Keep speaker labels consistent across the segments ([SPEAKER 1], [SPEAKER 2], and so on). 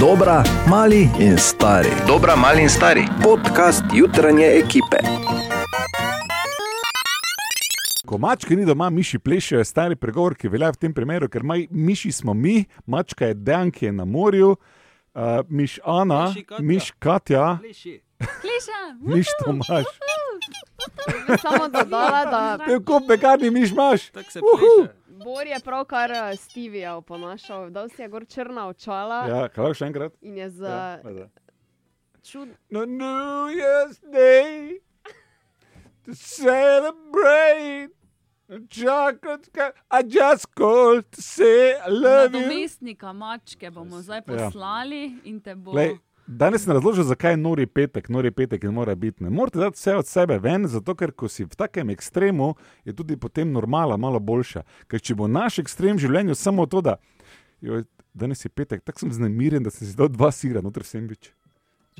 [SPEAKER 1] Dobra, mali in stari.
[SPEAKER 2] Dobra, mali in stari.
[SPEAKER 1] Podcast jutranje ekipe.
[SPEAKER 3] Ko mačke ni doma, miši plešejo, je stari pregovor, ki velja v tem primeru, ker maj, miši smo mi, mačka je Dan, ki je na morju, uh, miš Ana,
[SPEAKER 4] Miši Katja.
[SPEAKER 3] miš Katja,
[SPEAKER 4] Pleši.
[SPEAKER 5] Klišem,
[SPEAKER 3] miš Tomaš.
[SPEAKER 5] samo dodala, da
[SPEAKER 3] Kako pekarni miš imaš?
[SPEAKER 4] Tako se
[SPEAKER 3] Uhu.
[SPEAKER 4] pleše.
[SPEAKER 5] Bor je pravkar eh, Stevia oponašal, dal si je gor črna očala ja.
[SPEAKER 3] Ja, hvala še enkrat.
[SPEAKER 5] in je z
[SPEAKER 3] Ja,
[SPEAKER 5] ja.
[SPEAKER 3] ajde.
[SPEAKER 5] čud...
[SPEAKER 3] No, New Year's Day to celebrate. Chocolate, ca- I just called to say I love you.
[SPEAKER 6] Nadomestnika mačke bomo zdaj
[SPEAKER 3] Ja.
[SPEAKER 6] poslali ja. in te bo.
[SPEAKER 3] Glej, danes sem razložil, zakaj je nori petek, nori petek in mora biti. Ne morete dati vse od sebe ven, zato ker ko si v takem ekstremu, je tudi potem normala malo boljša. Ker če bo naš ekstrem v življenju samo to, da joj, danes je petek, tako sem znemiren, da sem si dal dva sira, noter sem več.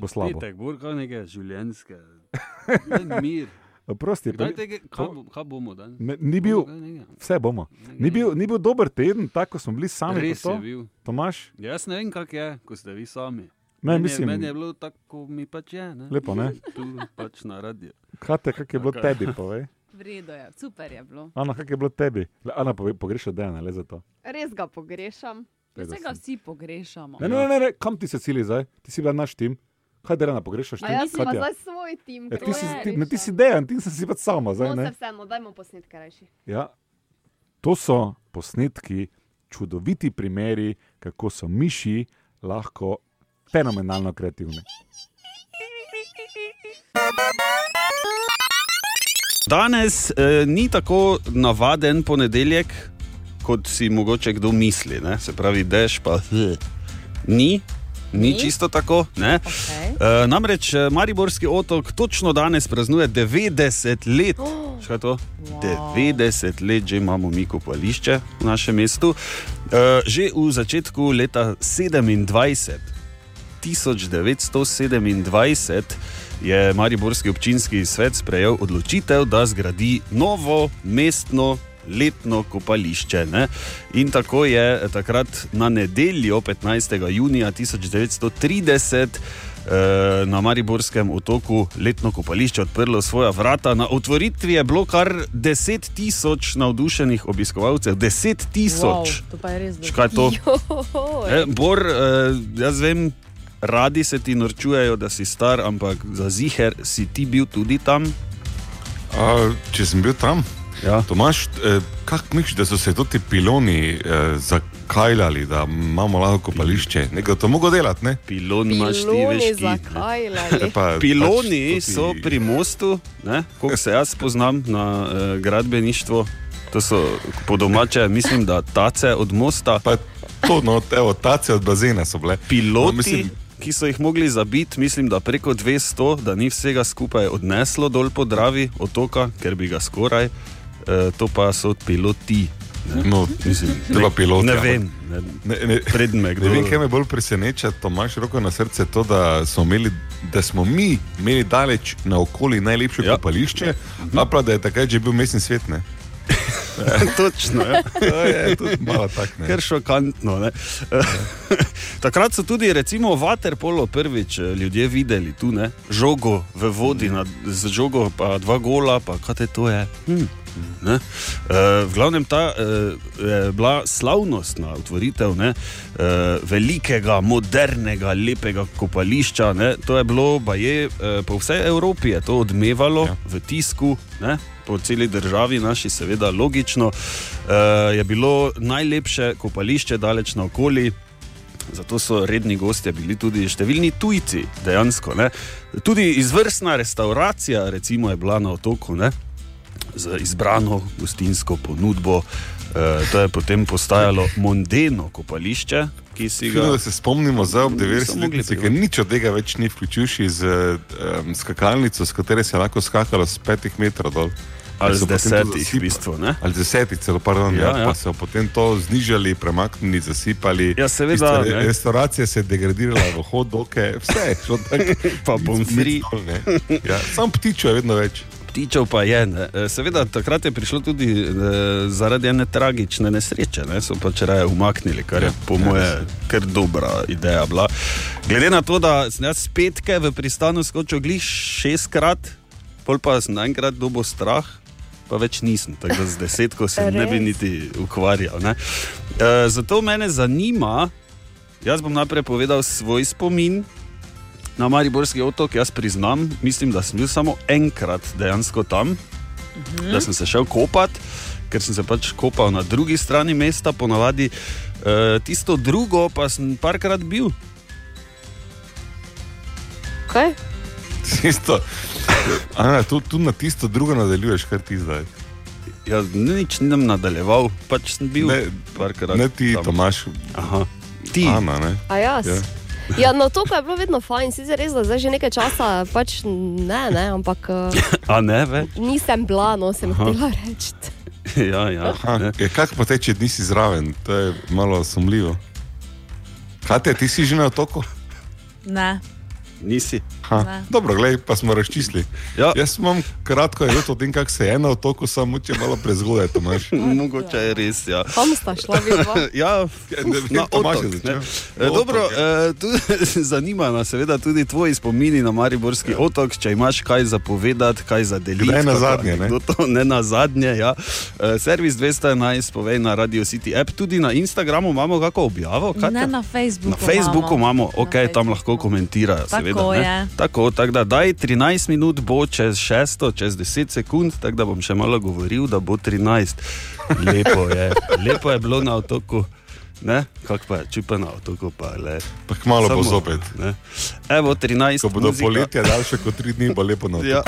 [SPEAKER 3] Bo slabo.
[SPEAKER 4] Pitek, bolj kot nekaj življenjske. Daj Mir.
[SPEAKER 3] Prosti,
[SPEAKER 4] Kdaj te, ge- kaj, bo- kaj bomo danes?
[SPEAKER 3] ni bil,
[SPEAKER 4] Bomo kdaj nekaj?
[SPEAKER 3] vse bomo. Ni bil, ni bil dober teden, tako smo bili sami.
[SPEAKER 4] Res
[SPEAKER 3] kot
[SPEAKER 4] je
[SPEAKER 3] to.
[SPEAKER 4] bil.
[SPEAKER 3] Tomaš,
[SPEAKER 4] Jaz ne vem, kako je, ko ste vi sami.
[SPEAKER 3] ne,
[SPEAKER 4] meni,
[SPEAKER 3] mislim,
[SPEAKER 4] je, meni je bilo tako, kot mi pač je. Ne?
[SPEAKER 3] lepo, ne?
[SPEAKER 4] Tu pač na radiju.
[SPEAKER 3] Kate, kak je bilo
[SPEAKER 4] Tako je.
[SPEAKER 3] tebi, povej.
[SPEAKER 6] Vredo je, ja. super je bilo.
[SPEAKER 3] Ana, kak je bilo tebi? Le, Ana, povej, pogreša Dejana, le za to.
[SPEAKER 5] Res ga pogrešam.
[SPEAKER 3] Glej, da
[SPEAKER 6] Vse ga
[SPEAKER 3] sem-
[SPEAKER 6] vsi pogrešamo.
[SPEAKER 3] Ne, ne, ne, ne, kam ti se cili zdaj? Ti si bila naš tim. Kaj da rana pogrešaš?
[SPEAKER 5] A
[SPEAKER 3] tim?
[SPEAKER 5] jaz sem pa
[SPEAKER 3] Katja?
[SPEAKER 5] ja, zdaj svoj tim.
[SPEAKER 3] Ja,
[SPEAKER 5] ker
[SPEAKER 3] ti,
[SPEAKER 5] ga
[SPEAKER 3] si,
[SPEAKER 6] je
[SPEAKER 3] ti, ne, ti si
[SPEAKER 5] pogrešam.
[SPEAKER 3] dejan, ti si pač sama. Zdaj,
[SPEAKER 5] No,
[SPEAKER 3] ne?
[SPEAKER 5] se vseeno, dajmo posnetke reči.
[SPEAKER 3] ja. To so posnetki, čudoviti primeri, kako so miši lahko fenomenalno kreativni.
[SPEAKER 4] Danes eh, ni tako navaden ponedeljek, kot si mogoče kdo misli. Ne? Se pravi, dež pa eh, ni. Ni čisto tako. Okay. E, namreč eh, Mariborski otok točno danes praznuje 90 let. Še Kaj je to? 90 let že imamo mi kopališče v našem mestu. E, že v začetku leta 27 1927 je Mariborski občinski svet sprejel odločitev, da zgradi novo mestno letno kopališče. Ne? In tako je eh, takrat na nedeljo 15. junija 1930. eh, Na Mariborskem otoku letno kopališče odprlo svoja vrata. Na otvoritvi je bilo kar 10 tisoč navdušenih obiskovalcev. 10 tisoč.
[SPEAKER 7] to pa je res
[SPEAKER 4] Wow. Kaj je to? E, Bor, eh, jaz vem, radi se ti norčujejo, da si star, ampak za ziger si ti bil tudi tam.
[SPEAKER 8] A, če sem bil tam,
[SPEAKER 4] Ja.
[SPEAKER 8] Tomaš, eh, kako misliš, da so se to ti piloni eh, zakajljali, da imamo lahko kopališče? Nekaj to mogo delati, ne?
[SPEAKER 4] Pilon imaš ti
[SPEAKER 5] Piloni,
[SPEAKER 4] več.
[SPEAKER 5] zakaj
[SPEAKER 8] E
[SPEAKER 5] lali?
[SPEAKER 8] Pa,
[SPEAKER 4] Piloni
[SPEAKER 8] pač to ti-
[SPEAKER 4] so pri mostu, kot se jaz poznam na eh, gradbeništvu. To so po domače, mislim, da tace od mosta.
[SPEAKER 8] Pa to, no, evo, tace od bazena so bile.
[SPEAKER 4] Piloti,
[SPEAKER 8] No,
[SPEAKER 4] mislim,
[SPEAKER 8] mislim-
[SPEAKER 4] ki so jih mogli zabiti, mislim, da preko 200, da ni vsega skupaj odneslo dol po Dravi, otoka, ker bi ga skoraj. E, to pa so piloti.
[SPEAKER 8] No,
[SPEAKER 4] Mislim,
[SPEAKER 8] treba piloti.
[SPEAKER 4] Ne
[SPEAKER 8] ampak-
[SPEAKER 4] vem, ne,
[SPEAKER 8] Ne, ne,
[SPEAKER 4] pred me kdo.
[SPEAKER 8] ne vem, kaj me bolj preseneča, Tomaš, roko na srce, to, da smo, imeli, da smo mi imeli daleč naokoli najlepše
[SPEAKER 4] Ja.
[SPEAKER 8] ja. kopališče, a pa da je takrat že bil mestni svet, ne?
[SPEAKER 4] Točno, ja.
[SPEAKER 8] To je tudi malo tak, ne?
[SPEAKER 4] kar šokantno. ne. Takrat so tudi, recimo, vaterpolo prvič eh, ljudje videli tu, ne? žogo v vodi, nad, z žogo pa dva gola, pa kaj te to je. Hm. Ne? E, v glavnem ta e, je bila slavnostna otvoritev ne, e, velikega, modernega, lepega kopališča. Ne, to je bilo, pa je e, po vsej Evropi je to odmevalo ja.
[SPEAKER 8] Ja.
[SPEAKER 4] v tisku, ne, po celi državi, naši, seveda, logično. E, je bilo najlepše kopališče daleč naokoli. Zato so redni gostje bili tudi številni tujci, dejansko. Ne? Tudi izvrstna restauracija, recimo, je bila na otoku. Ne? z izbrano gostinsko ponudbo. E, to je potem postajalo Mondeno kopališče, ki si
[SPEAKER 8] Fino,
[SPEAKER 4] ga
[SPEAKER 8] da se spomnimo za
[SPEAKER 4] Niso mogli
[SPEAKER 8] obdevetnice, ker
[SPEAKER 4] privabiti.
[SPEAKER 8] nič od tega več ni vključujoši z um, skakalnico, s katero se je lahko skakalo z petih metrov dol.
[SPEAKER 4] ali
[SPEAKER 8] so
[SPEAKER 4] z
[SPEAKER 8] potem to
[SPEAKER 4] desetih, v
[SPEAKER 8] zasipali.
[SPEAKER 4] bistvu. Ne?
[SPEAKER 8] Ali desetih, celo pardon,
[SPEAKER 4] Ja,
[SPEAKER 8] ja, ja.
[SPEAKER 4] ja.
[SPEAKER 8] pa so potem to znižali, premaknili, zasipali.
[SPEAKER 4] Ja, seveda,
[SPEAKER 8] Tista
[SPEAKER 4] ne.
[SPEAKER 8] re- Restavracija se je degradirala v hodoke, vse je šlo tako.
[SPEAKER 4] Pa pomfri.
[SPEAKER 8] Nic dol, ne. Ja, sam ptičo je vedno več.
[SPEAKER 4] ptičev pa je. Ne. Eh, Seveda takrat je prišlo tudi eh, zaradi ene tragične nesreče, ne. so pač raje umaknili, kar je po moje kar dobra ideja bila. Glede na to, da sem jaz petke v pristanu skočil glih šestkrat, pol pa sem naenkrat dobo strah. Pa več nisem, tako da z desetko se ne bi
[SPEAKER 5] Res?
[SPEAKER 4] niti ukvarjal. Ne. E, zato mene zanima, jaz bom najprej povedal svoj spomin, na Mariborski otok, jaz priznam, mislim, da sem bil samo enkrat dejansko tam, mhm. da sem se šel kopat, ker sem se pač kopal na drugi strani mesta, ponavadi e, tisto drugo pa sem parkrat bil.
[SPEAKER 5] Kaj?
[SPEAKER 8] Tisto, Ana, tu, tu na tisto drugo nadaljuješ, kar ti zdaj.
[SPEAKER 4] Ja, nič nisem nadaljeval, pač sem bil
[SPEAKER 8] Ne,
[SPEAKER 4] parkrat.
[SPEAKER 8] Ne ti,
[SPEAKER 4] tam.
[SPEAKER 8] Tomaš,
[SPEAKER 4] Aha. Ti.
[SPEAKER 8] Ana. Ne?
[SPEAKER 5] A jaz?
[SPEAKER 8] Ja.
[SPEAKER 5] Ja. Ja, no, to pa je bilo vedno fajn, sicer res, da zdaj že nekaj časa pač ne, ne ampak eh,
[SPEAKER 4] A ne več?
[SPEAKER 5] nisem bila, no sem
[SPEAKER 4] Aha.
[SPEAKER 5] hotela reči.
[SPEAKER 4] ja, ja.
[SPEAKER 8] Ha,
[SPEAKER 4] ne.
[SPEAKER 8] je, kaj pa teče, če nisi zraven, to je malo sumljivo. Katja, ti si že na otoku?
[SPEAKER 6] Ne.
[SPEAKER 4] Nisi.
[SPEAKER 8] Ha,
[SPEAKER 6] Ne.
[SPEAKER 8] dobro, gledaj, pa smo razčistili.
[SPEAKER 4] Ja,
[SPEAKER 8] Jaz imam kratko je o tem, kako se je na otoku, samo če malo prezgodaj, Tomaš.
[SPEAKER 4] mogoče je res. Ja.
[SPEAKER 5] Kam sta šla vidva?
[SPEAKER 4] Ja,
[SPEAKER 8] Ja, ne vem,
[SPEAKER 4] na
[SPEAKER 8] Tomaž
[SPEAKER 4] otok,
[SPEAKER 8] je začel.
[SPEAKER 4] ne.
[SPEAKER 8] Na
[SPEAKER 4] E, Dobro,
[SPEAKER 8] otok, ja.
[SPEAKER 4] e, tu- zanima nas seveda tudi tvoji spomini na Mariborski otok, če imaš kaj zapovedati, kaj za deliti.
[SPEAKER 8] Kdaj
[SPEAKER 4] kako-
[SPEAKER 8] nazadnje, Ja. ne?
[SPEAKER 4] kdo To, ne na zadnje, ja. E, Servis 211, povej na Radio City app, tudi na Instagramu imamo kako objavo. Katja?
[SPEAKER 2] Ne na Facebooku.
[SPEAKER 4] Na Facebooku imamo,
[SPEAKER 2] Na
[SPEAKER 4] ok,
[SPEAKER 2] Facebooku.
[SPEAKER 4] tam lahko komentirajo.
[SPEAKER 2] Tako
[SPEAKER 4] seveda, ne.
[SPEAKER 2] je.
[SPEAKER 4] Tako, tako da daj 13 minut, bo čez 6, čez 10 sekund, tako da bom še malo govoril, da bo 13. Lepo je, lepo je bilo na otoku. Ne, kako pa je, če pa na otoku, pa le.
[SPEAKER 8] Pa malo bo
[SPEAKER 4] Samo,
[SPEAKER 8] zopet.
[SPEAKER 4] Ne. Evo 13.
[SPEAKER 8] Ko bodo
[SPEAKER 4] muzika.
[SPEAKER 8] poletje daljše kot tri dni, bo lepo na otoku.
[SPEAKER 4] Ja.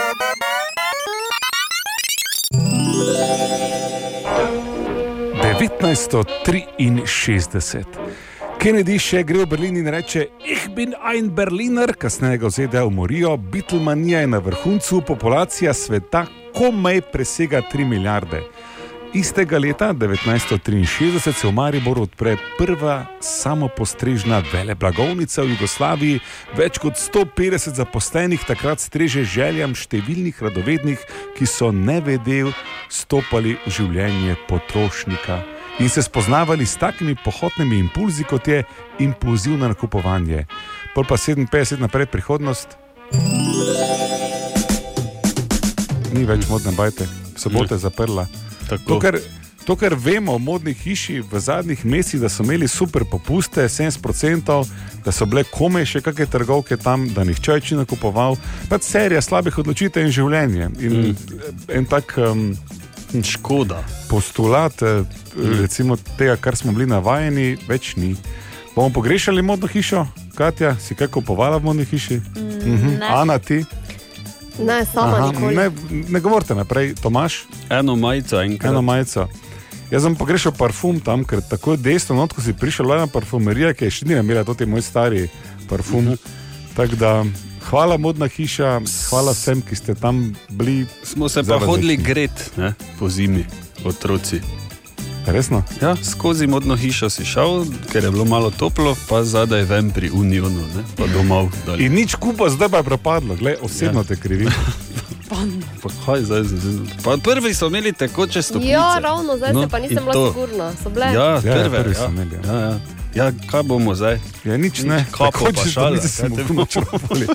[SPEAKER 3] Kennedy še gre v Berlin in reče: Ich bin ein Berliner, kasneje ga v ZDA umorijo, Beatlemanija je na vrhuncu, populacija sveta komaj presega 3 milijarde. Istega leta 1963 se v Mariboru odpre prva samopostrežna veleblagovnica v Jugoslaviji. Več kot 150 zaposlenih takrat streže željam številnih radovednih, ki so nevedel stopali v življenje potrošnika in se spoznavali s takimi pohodnimi impulzi, kot je impulzivno nakupovanje. Pol pa 57 naprej prihodnost. Ni več modne bajte, sobote zaprla. To
[SPEAKER 4] Tako.
[SPEAKER 3] kar, to, kar vemo o modni hiši v zadnjih mesecih, da so imeli super popuste, 70%, da so bile komaj še kakšne trgovke tam, da nihče več ni nakupoval. Pač serija slabih odločitev in življenje. In mm. en tak um,
[SPEAKER 4] Škoda.
[SPEAKER 3] postulat, eh, recimo tega, kar smo bili navajeni, več ni. Bomo pogrešali modno hišo, Katja, si kaj kupovala v modni hiši? Mm, Ana, ti?
[SPEAKER 5] Ne, sama Aha, nikoli.
[SPEAKER 3] ne, ne govorite naprej, Tomaš.
[SPEAKER 4] Eno majico enkrat.
[SPEAKER 3] eno majico. Jaz sem pogrešal parfum tam, ker tako desno, not, ko si prišel, bila je ena parfumerija, ki je še ni imela, to je moj stari parfum.
[SPEAKER 4] Mhm.
[SPEAKER 3] Tako da, hvala modna hiša, hvala vsem, ki ste tam bili,
[SPEAKER 4] Smo se pa
[SPEAKER 3] Zavednik.
[SPEAKER 4] hodili gret ne, po zimi, otroci.
[SPEAKER 3] resno.
[SPEAKER 4] Ja, skozi modno hišo si šel, ker je bilo malo toplo, pa zadaj ven pri Unionu, ne? pa domov. dalje.
[SPEAKER 3] In nič kupa, zdaj pa je propadlo, Glej,
[SPEAKER 4] Ja.
[SPEAKER 3] osebno te krivi.
[SPEAKER 4] Pa kaj zdaj z- z- pa Prvi so imeli tekoče stopnice.
[SPEAKER 5] Ja, ravno zdaj no, se pa nisem
[SPEAKER 4] in
[SPEAKER 5] bila
[SPEAKER 4] to.
[SPEAKER 5] sigurna. So bile
[SPEAKER 4] Ja,
[SPEAKER 3] Ja, ja,
[SPEAKER 4] prve,
[SPEAKER 3] prvi
[SPEAKER 4] ja,
[SPEAKER 3] so imeli, ja.
[SPEAKER 4] Ja, ja. ja, kaj bomo zdaj?
[SPEAKER 3] Ja, nič ne,
[SPEAKER 4] Nič kapo pa šale,
[SPEAKER 3] da se
[SPEAKER 4] kaj
[SPEAKER 3] mu
[SPEAKER 4] te
[SPEAKER 3] kruno črpali.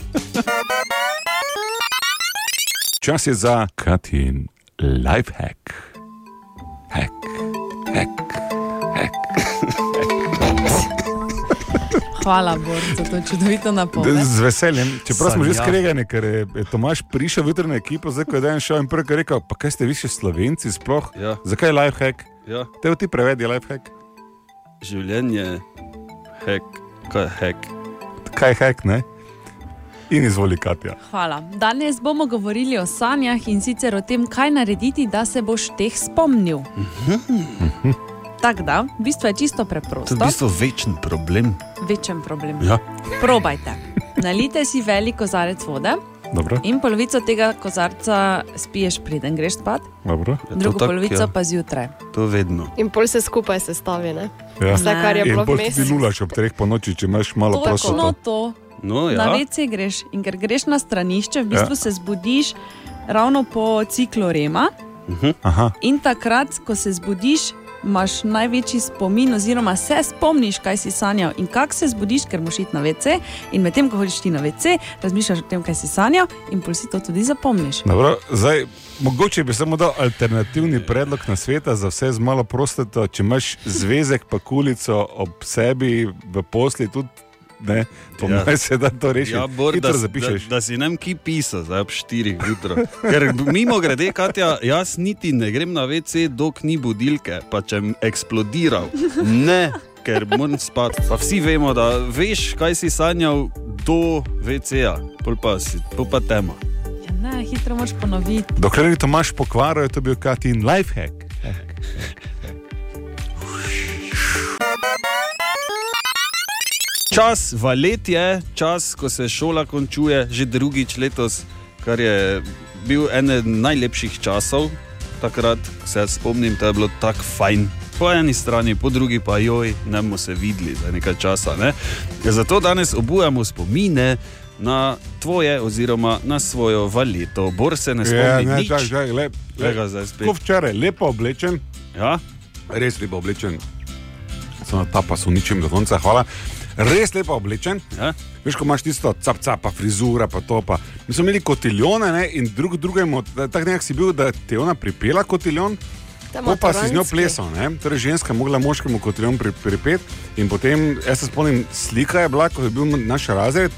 [SPEAKER 3] Čas je za Katin life hack. Hack, hack, hack.
[SPEAKER 2] Hvala, Bor, za to čudovito napoved.
[SPEAKER 3] Z veseljem, čeprav smo že
[SPEAKER 4] Sanja.
[SPEAKER 3] skregani, ker je je Tomaš prišel v jutrajno ekipo, zdaj ko je dan šel in prvi je rekel, pa kaj ste vi še slovenci sploh?
[SPEAKER 4] Ja.
[SPEAKER 3] Zakaj lifehack?
[SPEAKER 4] Ja,
[SPEAKER 3] Te ti prevedi lifehack?
[SPEAKER 4] življenje, hek, kaj je hek.
[SPEAKER 3] Kaj je hack, ne? In izvoli Katja.
[SPEAKER 2] Hvala. Danes bomo govorili o sanjah in sicer o tem, kaj narediti, da se boš teh spomnil. Tako da, v bistvu je čisto
[SPEAKER 4] Mhm. To je
[SPEAKER 2] preprosto,
[SPEAKER 4] v bistvu večen problem.
[SPEAKER 2] večen problem.
[SPEAKER 4] Ja.
[SPEAKER 2] Probajte. Nalijte si velik kozarec vode
[SPEAKER 3] Dobro,
[SPEAKER 2] in polovico tega kozarca spiješ, preden greš spat,
[SPEAKER 3] dobro.
[SPEAKER 4] Je Ja, to
[SPEAKER 2] drugo
[SPEAKER 4] tako,
[SPEAKER 2] polovico
[SPEAKER 4] ja,
[SPEAKER 2] pa zjutraj.
[SPEAKER 4] To vedno.
[SPEAKER 5] in pol se skupaj sestavi. Ne?
[SPEAKER 3] Ja.
[SPEAKER 5] Vse, kar je
[SPEAKER 3] In
[SPEAKER 5] bilo
[SPEAKER 3] bolj
[SPEAKER 5] vmes.
[SPEAKER 3] ti lulaš ob treh po noči, če imaš malo prosto.
[SPEAKER 2] Točno to.
[SPEAKER 4] No,
[SPEAKER 2] Na
[SPEAKER 4] ja.
[SPEAKER 2] vece greš in ker greš na stranišče, v bistvu
[SPEAKER 3] Ja.
[SPEAKER 2] ja. se zbudiš ravno po ciklu Rema.
[SPEAKER 3] Aha.
[SPEAKER 2] In takrat, ko se zbudiš, imaš največji spomin, oziroma se spomniš, kaj si sanjal in kako se zbudiš, ker moš iti na WC. In medtem, ko hodiš ti na WC, razmišljaš o tem, kaj si sanjal, in pol si to tudi zapomniš.
[SPEAKER 3] Dobro, zdaj, mogoče bi samo dal alternativni predlog na svet za vse z malo prostato. Če imaš zvezek pa kulico ob sebi v posli, tudi ne,
[SPEAKER 4] Ja.
[SPEAKER 3] pomeni ja. se, da to rešiš.
[SPEAKER 4] Ja, Bor, da,
[SPEAKER 3] Hitro
[SPEAKER 4] da,
[SPEAKER 3] zapišeš.
[SPEAKER 4] da si nam ki pisal, zdaj ob 4 jutra. Ker mimo grede, Katja, jaz niti ne grem na WC, dok ni budilke, pa če bi eksplodiral. Ne, ker moram spati. Pa vsi vemo, da veš, kaj si sanjal do WC-ja, pol pa, si- pol pa tema.
[SPEAKER 2] Ja, ne, hitro moš ponoviti.
[SPEAKER 3] Dokler ni Tomaš pokvaril, je to bil Katin lifehack.
[SPEAKER 4] Čas valet je, čas, ko se šola končuje, že drugič letos, kar je bil eden najlepših časov. Takrat se jaz spomnim, da je bilo tako fajn. Po eni strani, po drugi pa joj, ne bomo se videli za nekaj časa. Ne? Ja, Zato danes obujamo spomine na tvoje, oziroma na svojo valeto. Bor se ne spomni
[SPEAKER 3] Ja, ne,
[SPEAKER 4] nič.
[SPEAKER 3] čakaj, čakaj, lep,
[SPEAKER 4] Glej
[SPEAKER 3] lep.
[SPEAKER 4] ga zdaj spet.
[SPEAKER 3] Tako včeraj, lepo oblečen,
[SPEAKER 4] Ja?
[SPEAKER 3] res lepo oblečen. Samo ta pa so ničem do konca, hvala. Res lepo oblečen.
[SPEAKER 4] Ja?
[SPEAKER 3] Veš, ko imaš tisto capca, pa frizura, pa to. Pa. Mi smo imeli kotiljone ne, in drug drugemu, tako nekako si bil, da te je ona pripela kotiljon.
[SPEAKER 5] Ta
[SPEAKER 3] Ko pa si z njo
[SPEAKER 5] maturanski.
[SPEAKER 3] plesal, ne? torej ženska je mogla moškemu kot rejom pripet. In potem, jaz se spomnim, slika je bila, ko je bil naš razred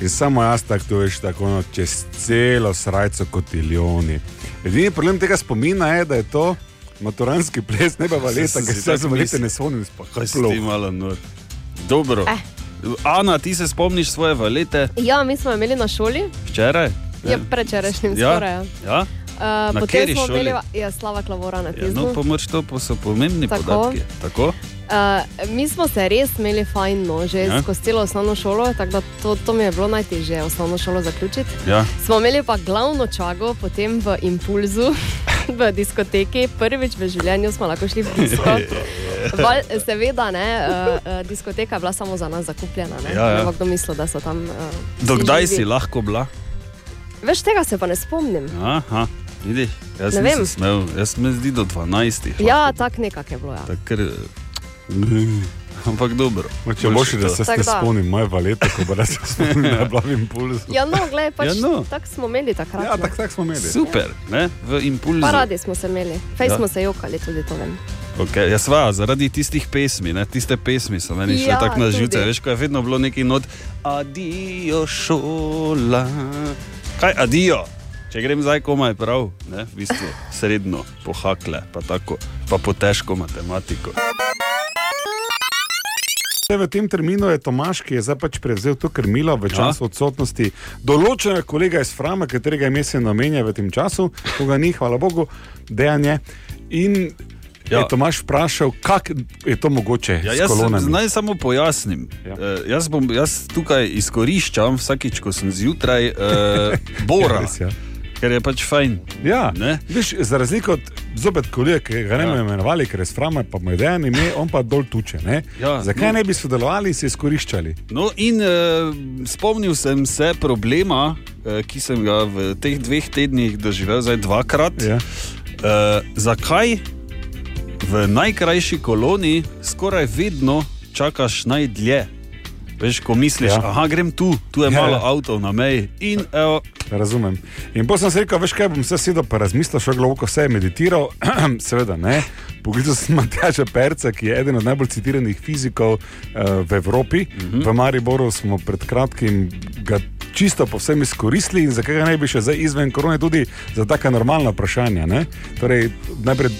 [SPEAKER 3] in samo jaz tako to veš, tako ono, čez celo srajco kot iljoni. Edini problem tega spomina je, da je to maturanski ples, ne pa valeta,
[SPEAKER 4] sem
[SPEAKER 3] ker
[SPEAKER 4] si
[SPEAKER 3] se jaz
[SPEAKER 4] tako
[SPEAKER 3] valete
[SPEAKER 4] mislil.
[SPEAKER 3] ne spomnim. sploh.
[SPEAKER 4] Kaj si ti malo nor? Dobro.
[SPEAKER 5] Eh.
[SPEAKER 4] Ana, ti se spomniš svoje valete
[SPEAKER 5] Ja, mi smo imeli na šoli,
[SPEAKER 4] včeraj?
[SPEAKER 5] je prečerajšnjim
[SPEAKER 4] Ja.
[SPEAKER 5] skoraj. ja.
[SPEAKER 4] Ja?
[SPEAKER 5] Uh,
[SPEAKER 4] Na kateri
[SPEAKER 5] potem smo
[SPEAKER 4] šoli?
[SPEAKER 5] imeli, ja, slava klavora na
[SPEAKER 4] Ja, no,
[SPEAKER 5] tisku.
[SPEAKER 4] pa moraš to, pa so pomembni
[SPEAKER 5] Tako.
[SPEAKER 4] podatki. Tako?
[SPEAKER 5] Uh, mi smo se res imeli fajn, no, že
[SPEAKER 4] Ja.
[SPEAKER 5] ja. skozi celo osnovno šolo, tako da to, to mi je bilo najtežje, osnovno šolo zaključiti.
[SPEAKER 4] Ja.
[SPEAKER 5] Smo imeli pa glavno čago, potem v Impulzu, v diskoteki, prvič v življenju smo lahko šli v
[SPEAKER 4] Ja,
[SPEAKER 5] disko. Val, seveda, ne, uh, uh, diskoteka je bila samo za nas zakupljena. Ne,
[SPEAKER 4] Ja, ja.
[SPEAKER 5] ne bo kdo mislil, da so tam. Uh,
[SPEAKER 4] Dokdaj si lahko bila?
[SPEAKER 5] Več tega se pa ne spomnim.
[SPEAKER 4] Aha, vidiš, jaz
[SPEAKER 5] Ne
[SPEAKER 4] ne sem
[SPEAKER 5] vem.
[SPEAKER 4] smel, jaz sem zdi do 12.
[SPEAKER 5] Ja, tako nekako je bilo. Ja.
[SPEAKER 4] Tako, ker, ampak dobro.
[SPEAKER 3] Ma, Če boš, da se
[SPEAKER 5] Tako
[SPEAKER 3] ne
[SPEAKER 5] da.
[SPEAKER 3] spomnim, moj valeta, ko bo res spomnim, da blavim puls.
[SPEAKER 5] Ja, no, gledaj, pač,
[SPEAKER 4] Ja, no.
[SPEAKER 5] tako smo imeli takrat.
[SPEAKER 3] Ja,
[SPEAKER 5] ne.
[SPEAKER 3] tako tak smo imeli.
[SPEAKER 4] Super, ne? v impulzu.
[SPEAKER 5] Pa radi smo se imeli, fej
[SPEAKER 4] Ja.
[SPEAKER 5] ja. smo se jokali, tudi to vem.
[SPEAKER 4] Okay, jaz ja, sva, zaradi tistih pesmi, ne, tiste pesmi so meni šle
[SPEAKER 5] Ja,
[SPEAKER 4] tako na
[SPEAKER 5] tudi.
[SPEAKER 4] živce, veš, ko je vedno bilo neki not, adijo šola. Kaj, adijo? Če grem zdaj komaj prav, ne, v bistvu srednjo, pohakle, pa tako, pa po težko matematiko.
[SPEAKER 3] Zdaj, V tem terminu je Tomaš, ki je zdaj pač prevzel to krmilo v času ja. odsotnosti določenega kolega iz Frama, katerega ime se namenja v tem času, ko ga ni, hvala Bogu, dejanje. In ja.
[SPEAKER 4] Ja.
[SPEAKER 3] je Tomaš vprašal, kako je to mogoče
[SPEAKER 4] Ja,
[SPEAKER 3] ja,
[SPEAKER 4] jaz
[SPEAKER 3] s kolonami.
[SPEAKER 4] sem, naj samo pojasnim.
[SPEAKER 3] Ja.
[SPEAKER 4] Ja. Jaz, bom, jaz tukaj izkoriščam vsakič, ko sem zjutraj, eh, bora,
[SPEAKER 3] Res, ja.
[SPEAKER 4] ker je pač fajn.
[SPEAKER 3] Ja,
[SPEAKER 4] Ne?
[SPEAKER 3] Viš, za razliko od zopet kolega, ki ga ne bomo
[SPEAKER 4] Ja.
[SPEAKER 3] imenovali, ker je sframa, pa mu je dejan ime, on pa dol tuče. ne?
[SPEAKER 4] Ja,
[SPEAKER 3] Zakaj
[SPEAKER 4] no.
[SPEAKER 3] ne bi sodelovali in se izkoriščali?
[SPEAKER 4] No, in uh, spomnil sem se problema, uh, ki sem ga v teh dveh tednih doživel, zdaj dvakrat.
[SPEAKER 3] Ja.
[SPEAKER 4] Uh, zakaj v najkrajši koloni skoraj vedno čakaš najdlje? Veš, ko misliš,
[SPEAKER 3] Ja.
[SPEAKER 4] da ja. grem tu, tu je
[SPEAKER 3] Ja,
[SPEAKER 4] ja. malo
[SPEAKER 3] ja.
[SPEAKER 4] avtov na meji. In evo,
[SPEAKER 3] Razumem. In potem sem si rekel, veš kaj, bom se sedel in razmislil, še globoko vse je meditiral, seveda ne. Pogledal sem Matjača Perca, ki je eden od najbolj citiranih fizikov uh, v Evropi. Uh -huh. V Mariboru smo pred kratkim ga čisto povsem izkoristili in zakaj ga ne bi še zdaj izven korone tudi za taka normalna vprašanja. Ne? Torej, najprej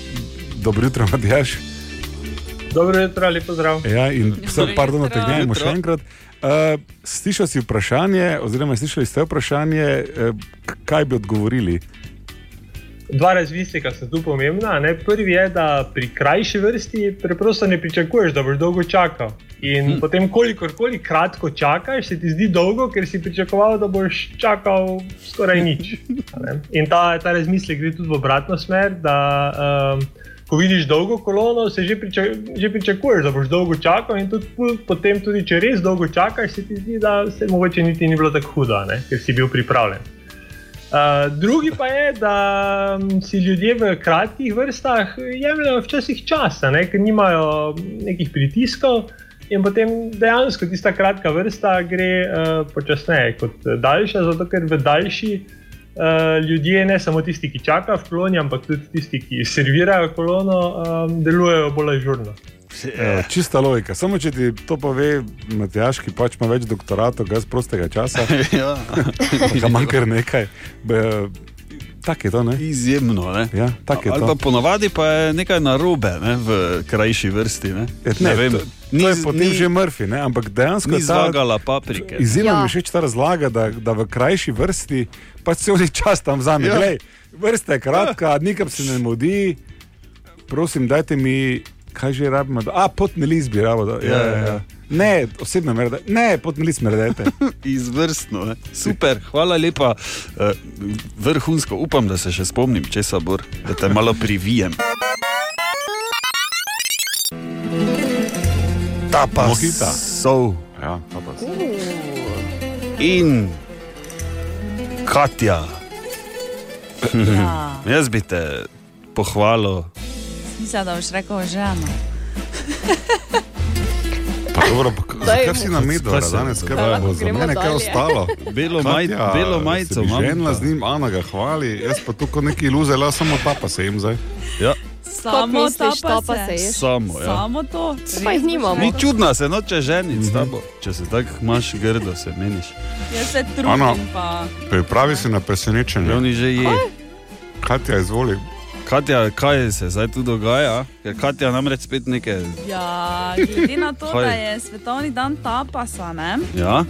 [SPEAKER 3] dobro jutro, Matjaš.
[SPEAKER 7] Dobro jutro, lepo zdrav.
[SPEAKER 3] Ja, in vse,
[SPEAKER 6] Dobro
[SPEAKER 3] pardon, da
[SPEAKER 6] jutro.
[SPEAKER 3] te gnjavimo še
[SPEAKER 4] Jutro.
[SPEAKER 3] enkrat. Uh, slišal si vprašanje, oziroma slišali ste vprašanje, uh, kaj bi odgovorili?
[SPEAKER 7] Dva razmisleka sta tu pomembna. Ne? Prvi je, da pri krajši vrsti preprosto ne pričakuješ, da boš dolgo čakal. In hmm. potem, kolikorkoli kratko čakaš, se ti zdi dolgo, ker si pričakoval, da boš čakal skoraj nič. a ne. In ta, ta razmislek gre tudi v obratno smer, da um, ko vidiš dolgo kolono, se že, priča, že pričakuješ, da boš dolgo čakal. In tudi, pol- potem, tudi če res dolgo čakaš, se ti zdi, da se mogoče niti ni bilo tako hudo, a ne, ker si bil pripravljen. Uh, drugi pa je, da mm, si ljudje v kratkih vrstah jemljajo včasih časa, ne, ker nimajo nekih pritiskov. In potem dejansko tista kratka vrsta gre uh, počasneje kot daljša, zato ker v daljši uh, ljudje, ne samo tisti, ki čakajo v koloni, ampak tudi tisti, ki servirajo kolono, um, delujejo bolj žurno.
[SPEAKER 4] ja,
[SPEAKER 3] Evo, čista logika. Samo če ti to pove, Matjaški pač ima več doktoratov, jaz prostega časa,
[SPEAKER 4] ja.
[SPEAKER 3] ga manj kar nekaj. Be, tak je to, ne?
[SPEAKER 4] Izjemno. Ne?
[SPEAKER 3] Ja, tako je
[SPEAKER 4] Ali
[SPEAKER 3] to.
[SPEAKER 4] pa ponavadi pa je nekaj narobe ne? v krajši vrsti. Ne,
[SPEAKER 3] Ja,
[SPEAKER 4] ne vem.
[SPEAKER 3] To, to je potem
[SPEAKER 4] ni,
[SPEAKER 3] že Murphy, ne? ampak dejansko
[SPEAKER 4] ni
[SPEAKER 3] je ta,
[SPEAKER 4] zlagala paprike.
[SPEAKER 3] Izjemno
[SPEAKER 5] Ja.
[SPEAKER 3] mi je všeč ta razlaga, da, da v krajši vrsti pač cel čas tam za me.
[SPEAKER 4] Ja.
[SPEAKER 3] Ja. Vrsta je kratka, nikam se ne modi. Prosim, dajte mi, kaj že rabimo. da- A, potni list bi rabo. Da, ja, ja, ja. Ne, osebno merda. Ne, potni list merdete.
[SPEAKER 4] Izvrstno, ne? super, hvala lepa. Eh, Vrhunsko, upam, da se še spomnim, če sabor, da te malo privijem. Ta pa
[SPEAKER 8] Mojita.
[SPEAKER 4] so
[SPEAKER 8] Ja, to pa se.
[SPEAKER 4] in Katja. Jaz bi te pohvalil.
[SPEAKER 2] Mislim, da boš rekel žena.
[SPEAKER 8] Pa dobro, pa, k-
[SPEAKER 5] Daj
[SPEAKER 8] zakaj
[SPEAKER 5] mu.
[SPEAKER 8] si na medu
[SPEAKER 4] Kaj se-
[SPEAKER 8] danes? Kaj
[SPEAKER 4] Da
[SPEAKER 8] pa
[SPEAKER 5] lahko
[SPEAKER 8] bo za
[SPEAKER 5] gremo
[SPEAKER 8] mene kaj
[SPEAKER 5] dalje.
[SPEAKER 8] ostalo?
[SPEAKER 4] Belo, maj, belo majico imam.
[SPEAKER 8] Žena z njim, Ana ga hvali, jaz pa tu kot neki iluze, la samo ta pa se jim zdaj.
[SPEAKER 4] Ja,
[SPEAKER 2] Samo
[SPEAKER 5] misliš,
[SPEAKER 2] ta
[SPEAKER 5] pa se ješ?
[SPEAKER 4] samo. Ja.
[SPEAKER 2] Samo to.
[SPEAKER 5] Pa jih nimamo.
[SPEAKER 4] Ni čudno, se noče ženiti
[SPEAKER 8] Mhm.
[SPEAKER 4] s tabo. Če se tako imaš grdo, se meniš.
[SPEAKER 2] Jaz se
[SPEAKER 8] Ana.
[SPEAKER 2] trudim. Pa...
[SPEAKER 8] Pripravi se na
[SPEAKER 4] Ja,
[SPEAKER 8] presenečenje.
[SPEAKER 4] Oni že je.
[SPEAKER 8] Katja, izvoli.
[SPEAKER 4] Katja, kaj se zdaj tu dogaja? Ker Katja namreč spet nekaj.
[SPEAKER 2] Ja, glede na to,
[SPEAKER 4] Kaj?
[SPEAKER 2] da je svetovni dan tapasa, ne,
[SPEAKER 4] Ja?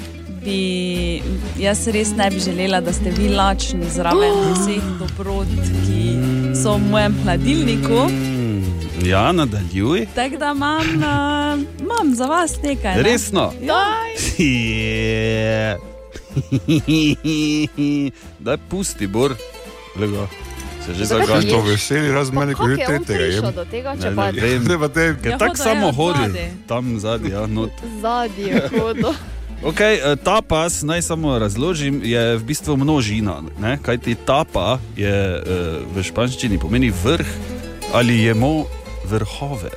[SPEAKER 2] bi jaz res ne bi želela, da ste vi lačni zraven vseh dobrod, ki so v mojem hladilniku.
[SPEAKER 4] Mm, ja, nadaljuj.
[SPEAKER 2] Tako da imam, uh, imam za vas nekaj. Ne?
[SPEAKER 4] Resno.
[SPEAKER 2] Ja,
[SPEAKER 4] Je. Daj pusti, bor. Lego. Se že
[SPEAKER 5] Zakaj
[SPEAKER 8] Kaj
[SPEAKER 5] Kaj
[SPEAKER 4] zaganja.
[SPEAKER 8] to
[SPEAKER 5] ješ?
[SPEAKER 8] veseli, razmeni, ko
[SPEAKER 5] Kako
[SPEAKER 8] že
[SPEAKER 5] je on
[SPEAKER 8] tretjega jem.
[SPEAKER 5] prišel do tega,
[SPEAKER 4] Ne,
[SPEAKER 5] če pa
[SPEAKER 4] ne vem.
[SPEAKER 8] Zdaj pa te,
[SPEAKER 4] Ker
[SPEAKER 2] Ja,
[SPEAKER 4] tako
[SPEAKER 2] hoda
[SPEAKER 4] samo
[SPEAKER 2] je
[SPEAKER 4] hodi,
[SPEAKER 2] zadaj.
[SPEAKER 4] tam zadnji, ja, not.
[SPEAKER 5] zadnji hodo?
[SPEAKER 4] Okay, eh, tapas, naj samo razložim, je v bistvu množina. Ne? Kaj ti tapa je eh, v španščini pomeni vrh ali jemo vrhove.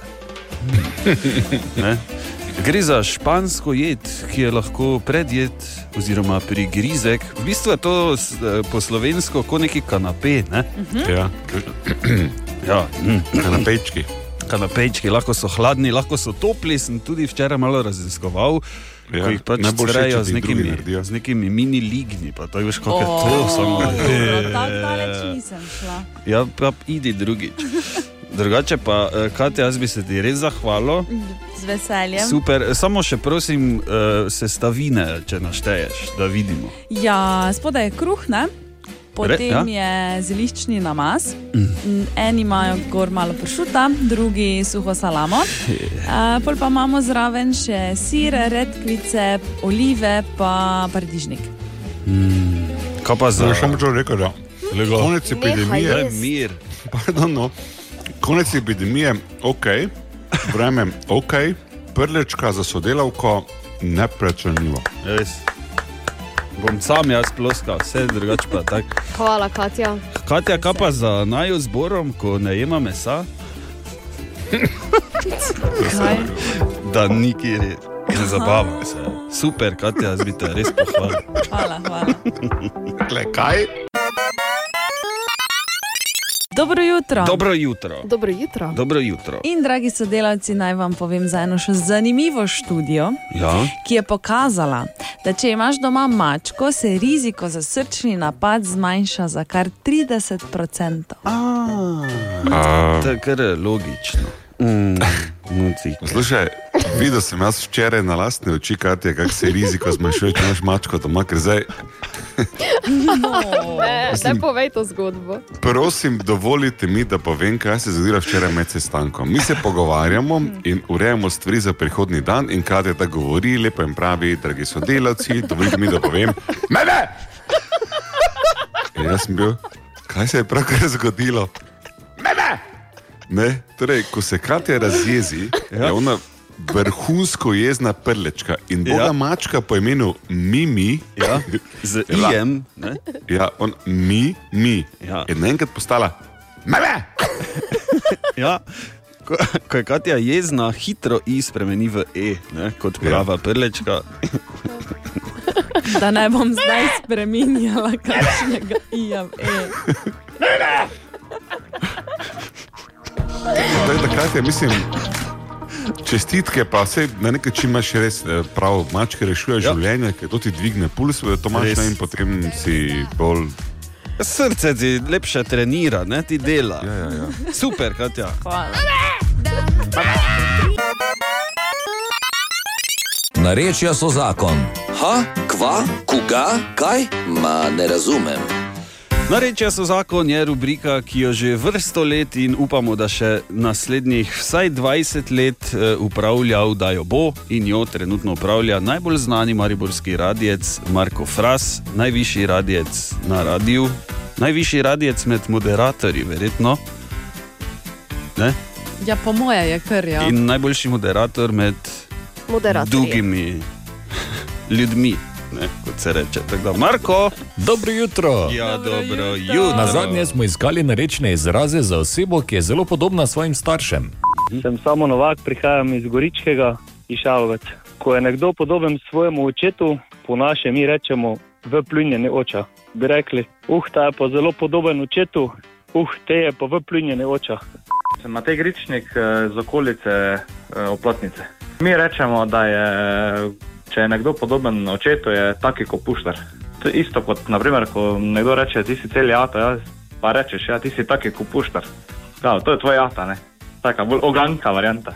[SPEAKER 4] Ne? Gre za špansko jed, ki je lahko predjed oziroma prigrizek. V bistvu je to s- eh, po slovensko kot neki kanape. Ne?
[SPEAKER 5] Hm?
[SPEAKER 8] ja,
[SPEAKER 4] Ja, mm.
[SPEAKER 8] na pečki.
[SPEAKER 4] kanapejčki, lahko so hladni, lahko so topli. Sem tudi včeraj malo raziskoval,
[SPEAKER 8] Ja,
[SPEAKER 4] ja, ko jih pač
[SPEAKER 8] najbolj všeč,
[SPEAKER 4] strejo
[SPEAKER 8] če ti
[SPEAKER 4] z
[SPEAKER 8] jih drugi
[SPEAKER 4] nekimi,
[SPEAKER 8] naredijo.
[SPEAKER 4] z nekimi mini ligni. Pa to je veš, kako je
[SPEAKER 2] O,
[SPEAKER 4] to samo.
[SPEAKER 2] dobro, Tako daleč nisem šla.
[SPEAKER 4] Ja, pa idi drugič. Drugače pa, eh, Katja, jaz bi se ti res zahvalil.
[SPEAKER 2] Z veseljem.
[SPEAKER 4] Super, samo še prosim, eh, sestavine, če našteješ, da vidimo.
[SPEAKER 2] Ja, spodaj je kruh, ne? potem
[SPEAKER 4] Re- ja.
[SPEAKER 2] je zeliščni namaz. Mm, Eni imajo gor malo pršuta, drugi suho salamo. Uh, pol pa imamo zraven še sir, redkvice, olive, pa paradižnik.
[SPEAKER 4] Kaj pa
[SPEAKER 8] Zdaj
[SPEAKER 4] za
[SPEAKER 8] še moče rekel, da konec
[SPEAKER 5] Nehaj
[SPEAKER 8] epidemije,
[SPEAKER 5] jesti.
[SPEAKER 4] Daj mir?
[SPEAKER 8] pardon, no, konec epidemije, ok, vreme, ok, prlečka za sodelavko, neprecenljivo.
[SPEAKER 4] Res. Bom sam jaz ploskal, vse drugače pa tako.
[SPEAKER 5] Hvala, Katja.
[SPEAKER 4] Katja, kaj pa za naju zborom, ko ne jema mesa? da nikjer je. Ne zabavam se. Super, Katja, jaz bi te res pohvalil.
[SPEAKER 2] Hvala, hvala.
[SPEAKER 8] Kle, kaj?
[SPEAKER 2] Dobro jutro.
[SPEAKER 4] Dobro jutro.
[SPEAKER 5] Dobro jutro.
[SPEAKER 4] Dobro jutro.
[SPEAKER 2] In, dragi sodelavci, naj vam povem za eno še zanimivo študijo,
[SPEAKER 4] Ja,
[SPEAKER 2] ki je pokazala, da če imaš doma mačko, se riziko za srčni napad zmanjša za kar 30%.
[SPEAKER 4] to je kar eh, logično. Ja. Mm, muci.
[SPEAKER 8] Slušaj, videl sem jaz včeraj na lastne oči, Katja, kako se riziko zmanjšuje, če imaš mačko doma, ker zdaj,
[SPEAKER 5] Ne, ne No. povej to zgodbo.
[SPEAKER 8] prosim, dovolite mi, da povem, kaj se je zgodilo včeraj med sestankom. Mi se pogovarjamo in urejamo stvari za prihodni dan in Katja tako govori, lepo jim pravi, dragi sodelavci, dovolite mi, da povem, ne, ne! In jaz sem bil, kaj se je pravkar zgodilo? Ne, ne! Ne, torej, ko se Katja razjezi, ja. je ona vrhunsko jezna prlečka in boga
[SPEAKER 4] Ja.
[SPEAKER 8] ja. mačka po imenu Mimi.
[SPEAKER 4] Ja, z IM. Ne?
[SPEAKER 8] Ja, on mi, mi.
[SPEAKER 4] Ja.
[SPEAKER 8] In naenkrat postala. Mele!
[SPEAKER 4] Ja. Ko, ko je Katja jezna, hitro i spremeni v E, ne? kot prava prlečka.
[SPEAKER 2] Da ne bom zdaj spremenjala kakšnega ija. v E.
[SPEAKER 8] Zdaj, takrat je, mislim, čestitke, pa vse na nek način imaš res eh, prav, mačke rešuje
[SPEAKER 4] Ja.
[SPEAKER 8] ja. življenje, ker to ti dvigne puls, to
[SPEAKER 4] Res.
[SPEAKER 8] imaš ne, in potem si bolj.
[SPEAKER 4] Srce ti lepše trenira, ne ti dela.
[SPEAKER 8] Ja, ja, ja.
[SPEAKER 4] Super, Katja.
[SPEAKER 1] Narečja so zakon. Ha, kva, koga, kaj? Ma ne razumem.
[SPEAKER 4] Narečja so zakon je rubrika, ki jo že vrsto let in upamo, da še naslednjih vsaj 20 let eh, upravljal, da jo bo in jo trenutno upravlja najbolj znani mariborski radijec Marko Fras, najvišji radijec na radiju, najvišji radijec med moderatorji, verjetno. Ne?
[SPEAKER 2] Ja, po moje je kar ja.
[SPEAKER 4] In najboljši moderator med
[SPEAKER 5] Moderator.
[SPEAKER 4] drugimi ljudmi, ne, kot se reče. Tako da, Marko,
[SPEAKER 9] Dobro jutro.
[SPEAKER 4] ja, dobro, dobro jutro.
[SPEAKER 9] Na zadnje smo iskali rečne izraze za osebo, ki je zelo podobna svojim staršem.
[SPEAKER 10] Sem samo novak, prihajam iz Goričkega, iz Šalovec. Ko je nekdo podoben svojemu očetu, po našem mi rečemo v pljunjenje oča. Bi rekli, uh, ta je pa zelo podoben očetu, uh, te je pa v pljunjenje oča.
[SPEAKER 11] Sem Matej Gričnik eh, z okolice eh, Oplotnice. Mi rečemo, da je, če je nekdo podoben očetu, je taki kot puštar. To je isto kot, naprimer, ko nekdo reče, ti si cel jata, ja, pa rečeš, ja, ti si taki kot puštar. Ja, to je tvoj jata, ne? Taka bolj oganka varianta.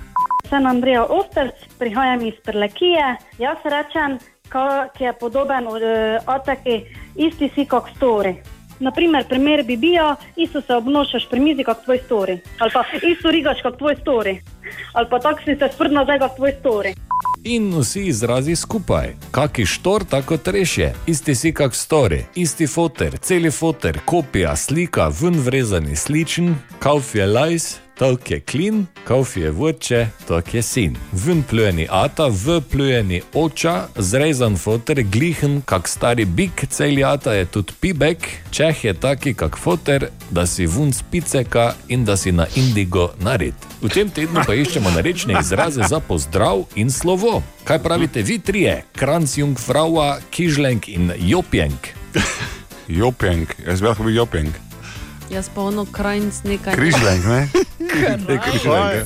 [SPEAKER 12] Sem Andreja Osterc, prihajam iz Prlekije. Jaz rečem, ka- ki je podoben eh, ataki, isti si kot stori. Naprimer, primer bi bil, isto se obnašaš pri mizi kot tvoj stori, ali pa isto rigaš kot tvoj stori, ali pa tako si se sprdna zdaj kot tvoj stori.
[SPEAKER 9] In vsi izrazi skupaj. Kaki štor, tako trešje, isti si kak stori, isti foter, celi foter, kopija, slika, ven vrezani sličen, kauf je lajs, tok je klin, kauf je vrče, tok je sin. Ven plujeni ata, v plujeni oča, zrezan foter, glihen, kak stari bik, celi ata je tudi pibek, čeh je taki kak foter, da si vun spiceka in da si na indigo nared. V tem tednu pa iščemo narečne izraze za pozdrav in slovo. Kaj pravite vi trije, kranc, jungfrava, kižlenk in jopjenk?
[SPEAKER 8] Jopeng, jaz bi lahko bil jopeng.
[SPEAKER 2] Jaz pa ono krajnc nekaj.
[SPEAKER 8] Križlenk, ne? Križlenk. ja.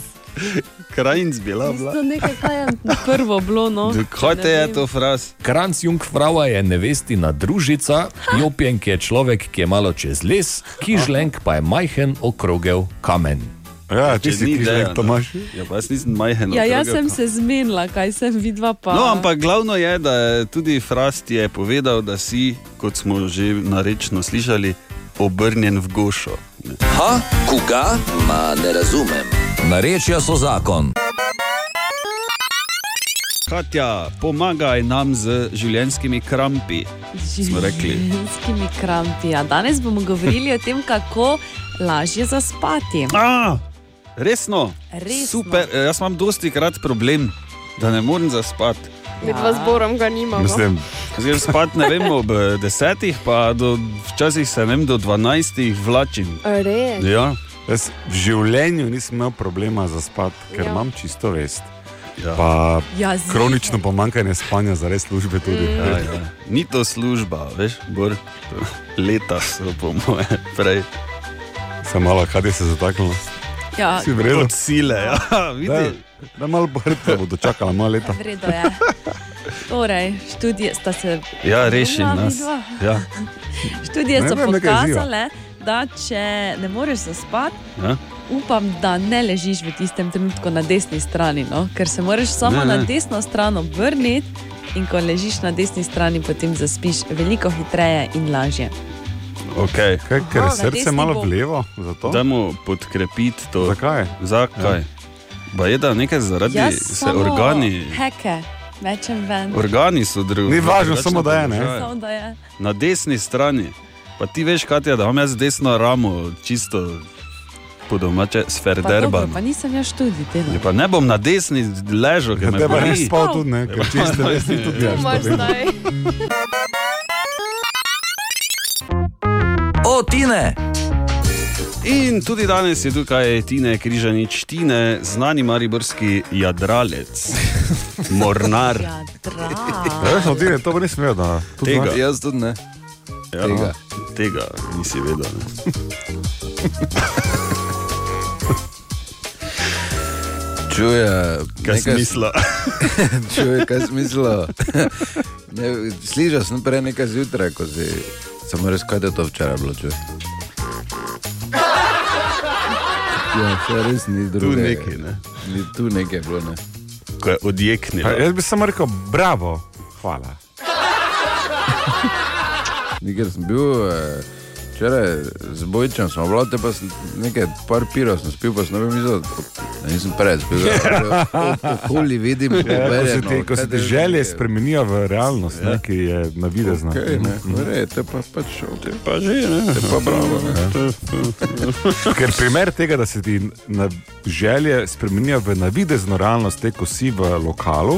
[SPEAKER 4] Krajinc bila. bila.
[SPEAKER 2] Tisto nekaj, kaj je prvo bilo, no.
[SPEAKER 4] Kaj te
[SPEAKER 2] Ne
[SPEAKER 4] je
[SPEAKER 2] vem.
[SPEAKER 4] to fraz?
[SPEAKER 9] Kranc Jungfrava je nevestina družica, Jopjenk je človek, ki je malo čez les, Kižlenk pa je majhen okrogel kamen.
[SPEAKER 8] Ja, ti
[SPEAKER 4] Če ni
[SPEAKER 8] si
[SPEAKER 4] ideja,
[SPEAKER 8] križlenk, Tomaš.
[SPEAKER 4] ne. Ja, pa jaz nisem majhen.
[SPEAKER 2] Ja, jaz
[SPEAKER 4] otrok,
[SPEAKER 2] sem
[SPEAKER 4] pa-
[SPEAKER 2] se zmenila, kaj sem videla. Pa...
[SPEAKER 4] No, ampak glavno je, da je tudi Frast je povedal, da si, kot smo že narečno slišali, obrnjen v gošo. Ne.
[SPEAKER 1] Ha, koga? Ma ne razumem.
[SPEAKER 9] Narečja so zakon.
[SPEAKER 4] Katja, pomagaj nam z življenjskimi krampi. smo rekli.
[SPEAKER 2] Ženskimi krampi. Ja, danes bomo govorili o tem, kako lažje zaspati.
[SPEAKER 4] A, resno,
[SPEAKER 2] Resno.
[SPEAKER 4] super. eh, Jaz imam dosti krat problem, da ne morem zaspati.
[SPEAKER 5] Med vas borom ga nimamo.
[SPEAKER 8] Mislim,
[SPEAKER 4] Zdaj spat ne vem ob eh, desetih, pa do, včasih se ne vem do dvanajstih vlačim.
[SPEAKER 5] Res.
[SPEAKER 4] Ja,
[SPEAKER 8] jaz v življenju nisem imel problema za spat, ker ja.
[SPEAKER 5] Ja.
[SPEAKER 8] imam čisto vest.
[SPEAKER 4] Ja.
[SPEAKER 8] Pa
[SPEAKER 2] Ja, z-
[SPEAKER 8] kronično pomankanje spanja za res službe tudi.
[SPEAKER 2] Mm.
[SPEAKER 4] ja, ja. Ni to služba, veš, bolj leta so po moje prej.
[SPEAKER 8] Sem malo, kaj se zataknilo.
[SPEAKER 2] ja,
[SPEAKER 8] Si vredno.
[SPEAKER 4] Od sile, ja,
[SPEAKER 8] Da,
[SPEAKER 4] vidiš.
[SPEAKER 8] da malo brta bo dočakala, malo leta.
[SPEAKER 2] vredno je. ja. Torej, študije sta se
[SPEAKER 4] Ja, reši
[SPEAKER 2] Ja,
[SPEAKER 4] nas.
[SPEAKER 2] vidva.
[SPEAKER 4] Ja.
[SPEAKER 2] Študije
[SPEAKER 8] Ne
[SPEAKER 2] so
[SPEAKER 8] vem, nekaj izziva.
[SPEAKER 2] pokazale, da če ne moreš zaspati,
[SPEAKER 4] Ja.
[SPEAKER 2] upam, da ne ležiš v tistem trenutku na desni strani, no? ker se moraš samo ne,
[SPEAKER 4] Ne, ne.
[SPEAKER 2] ne. na desno stran obrniti in ko ležiš na desni strani, potem zaspiš veliko hitreje in lažje.
[SPEAKER 4] Okay.
[SPEAKER 8] Kaj, ker
[SPEAKER 2] Aha,
[SPEAKER 8] je
[SPEAKER 2] na
[SPEAKER 8] srce
[SPEAKER 2] desni
[SPEAKER 8] malo
[SPEAKER 2] bok.
[SPEAKER 8] vlevo, zato.
[SPEAKER 4] Dajmo podkrepiti to.
[SPEAKER 8] Zakaj?
[SPEAKER 4] Zakaj? Ja. Ba je da nekaj zaradi
[SPEAKER 2] Jaz
[SPEAKER 4] se
[SPEAKER 2] samo
[SPEAKER 4] organi.
[SPEAKER 2] Heke, mečem ven.
[SPEAKER 4] Organi so drugačni.
[SPEAKER 8] Ni važno, samo da je, ne?
[SPEAKER 2] Samo da je.
[SPEAKER 4] Na desni strani. Pa ti veš, kaj je, da imam jaz desno ramo, čisto po
[SPEAKER 2] Pa
[SPEAKER 4] domače
[SPEAKER 2] dobro,
[SPEAKER 4] sferderban.
[SPEAKER 2] pa nisem jaz študij tega.
[SPEAKER 4] Ja, pa ne bom na desni ležal, ker me
[SPEAKER 3] Te pa
[SPEAKER 4] boli.
[SPEAKER 3] ne bi spal tudi, ne, ker čiste vesti tudi jaz.
[SPEAKER 5] Moraš zdaj.
[SPEAKER 1] O, Tine!
[SPEAKER 4] In tudi danes je tukaj Tine Križanič, Tine, znani mariborski jadralec, mornar.
[SPEAKER 3] Veš, no, Tine, to pa nisem vedel. da- tudi
[SPEAKER 4] Tega.
[SPEAKER 3] znaš.
[SPEAKER 4] Jaz
[SPEAKER 1] tudi ne.
[SPEAKER 4] Ja, tega. tega nisi vedel. ne.
[SPEAKER 13] Čuje,
[SPEAKER 4] Kaj si mislila?
[SPEAKER 13] Čuje, kaj smisla. Slišal sem prej nekaj zjutraj, ko si samo res kaj da je to včeraj bilo. Čuje. Ja, še res ni drugo.
[SPEAKER 4] nekaj, ne?
[SPEAKER 13] Ni tu nekaj je bilo, ne.
[SPEAKER 4] Ko je odjeknil.
[SPEAKER 3] Pa Jaz bi samo rekel, bravo, hvala.
[SPEAKER 13] Nikjer sem bil, eh, včeraj z Bojčem smo bila, te pa sem nekaj, par pira sem spil, pa sem ne bi mislil, da nisem prej spil. ja. Okoli vidim,
[SPEAKER 3] Ja, ko se
[SPEAKER 13] obereno,
[SPEAKER 3] ti, ko se
[SPEAKER 13] kaj
[SPEAKER 3] ti
[SPEAKER 13] te-
[SPEAKER 3] želje spremenijo v realnost, ne, ki je na videz.
[SPEAKER 13] Okej, no. ne, v redu, te pa pač šel.
[SPEAKER 4] Pa že, ne?
[SPEAKER 13] Te pa bravo, ne.
[SPEAKER 3] Ker primer tega, da se ti na želje spremenijo v navidezno realnost, te ko si v lokalu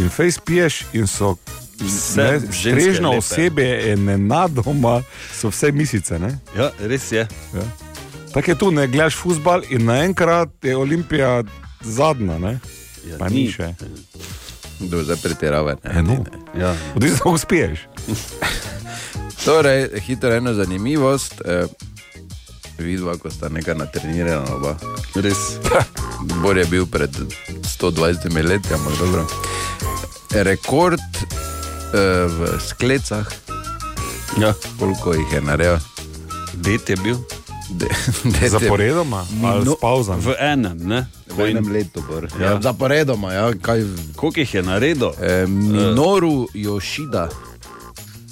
[SPEAKER 3] in face piješ in so.
[SPEAKER 4] Vse
[SPEAKER 3] ne,
[SPEAKER 4] ženske
[SPEAKER 3] Strežno
[SPEAKER 4] lepe.
[SPEAKER 3] osebje je nenadoma, so vse misice. Ne?
[SPEAKER 4] Ja, res je.
[SPEAKER 3] Ja. Tako je tu, ne gledaš fusbal in naenkrat je Olimpija zadnja. Ne?
[SPEAKER 4] Ja,
[SPEAKER 3] Pa ni še.
[SPEAKER 13] Dobro, zdaj pretiravaj. ne.
[SPEAKER 3] Eno.
[SPEAKER 4] Ja.
[SPEAKER 3] Odvisno, uspeš.
[SPEAKER 13] Torej, hitro ena zanimivost. Eh, Vidva, ko sta nekaj natrenirana, oba.
[SPEAKER 4] Res.
[SPEAKER 13] Bor je bil pred 120 leti, ampak dobro. Rekord eh, v sklecah,
[SPEAKER 4] Ja.
[SPEAKER 13] koliko jih je naredil.
[SPEAKER 4] Det je bil.
[SPEAKER 13] De, de,
[SPEAKER 3] Zaporedoma ali
[SPEAKER 4] No.
[SPEAKER 3] s pauzami.
[SPEAKER 4] V enem, ne?
[SPEAKER 13] V enem letu, bor.
[SPEAKER 4] Ja.
[SPEAKER 13] Ja. Zaporedoma, ja, kaj.
[SPEAKER 4] Koliko jih je naredil?
[SPEAKER 13] Eh, Minoru Yoshida,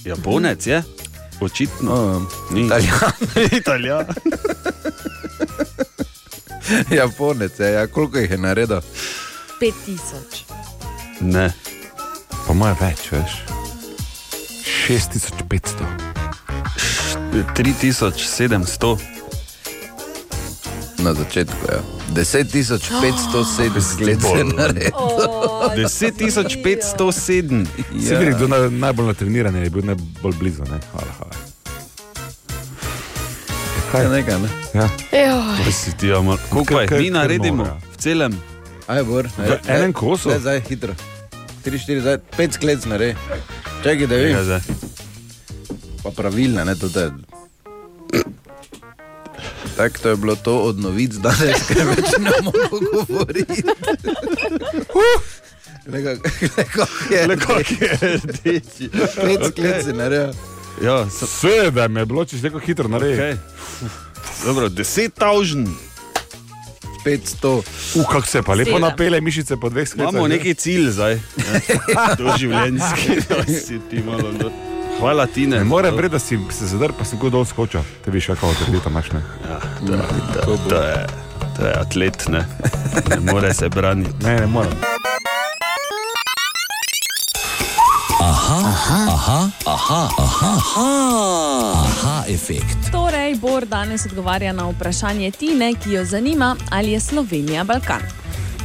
[SPEAKER 4] Japonec je? Očitno.
[SPEAKER 13] no,
[SPEAKER 4] Ni.
[SPEAKER 13] Italijan,
[SPEAKER 4] Italijan.
[SPEAKER 13] Japonec, je, ja, koliko jih je naredil?
[SPEAKER 5] 5000.
[SPEAKER 4] Ne.
[SPEAKER 3] Po mojem več, veš. 6500.
[SPEAKER 4] 3700.
[SPEAKER 13] Na začetku je. Ja. 10.507 sklecov je naredil.
[SPEAKER 5] Oh,
[SPEAKER 4] 10507.
[SPEAKER 3] Ja. Vidi, kdo na, najbolj natreniran je, je bil najbolj blizu. Ne? Hvala, hvala.
[SPEAKER 13] Kaj je nekaj, ne?
[SPEAKER 3] Ja.
[SPEAKER 5] Joj,
[SPEAKER 4] Kaj si ti, amor? ja, Koliko jih
[SPEAKER 3] Kar-
[SPEAKER 4] mi
[SPEAKER 3] kar
[SPEAKER 4] naredimo?
[SPEAKER 3] nora.
[SPEAKER 4] V celem.
[SPEAKER 13] Aj, bor.
[SPEAKER 3] V enem kosu?
[SPEAKER 13] Zdaj, zdaj, hitro. 3, 4, zdaj, 5 sklec naredi. Čakaj, da
[SPEAKER 4] Ja,
[SPEAKER 13] vidim.
[SPEAKER 4] zdaj.
[SPEAKER 13] Pa pravilno, ne, to je. Tako to je bilo to od novic danes, ker več ne moremo govoriti. Lepo je.
[SPEAKER 4] Le kako je rdeči.
[SPEAKER 13] 5 sklec je naredil.
[SPEAKER 4] Ja, sem.
[SPEAKER 3] Sedem je bilo, če si tako hitro naredil. Okay.
[SPEAKER 4] Okay. Dobro, deset tavžn.
[SPEAKER 13] 500.
[SPEAKER 3] Uh, kako se pa lepo
[SPEAKER 2] Sedem.
[SPEAKER 3] napele mišice po dveh sklepih.
[SPEAKER 4] Imamo neki cilj zdaj. ne. Doživljenjski, da si ti malo. no. Hvala ti, ne.
[SPEAKER 3] Ne more vredi, da si se zadrl, pa si kot dol skočil. Te viš, kako te leta imaš. Ne,
[SPEAKER 4] Ja, to, je- to, to, je, to je atlet, ne. Ne more se braniti.
[SPEAKER 3] ne, ne morem.
[SPEAKER 1] Aha, aha, aha, aha efekt.
[SPEAKER 2] Torej, Bor danes odgovarja na vprašanje Tine, ki jo zanima, ali je Slovenija Balkan.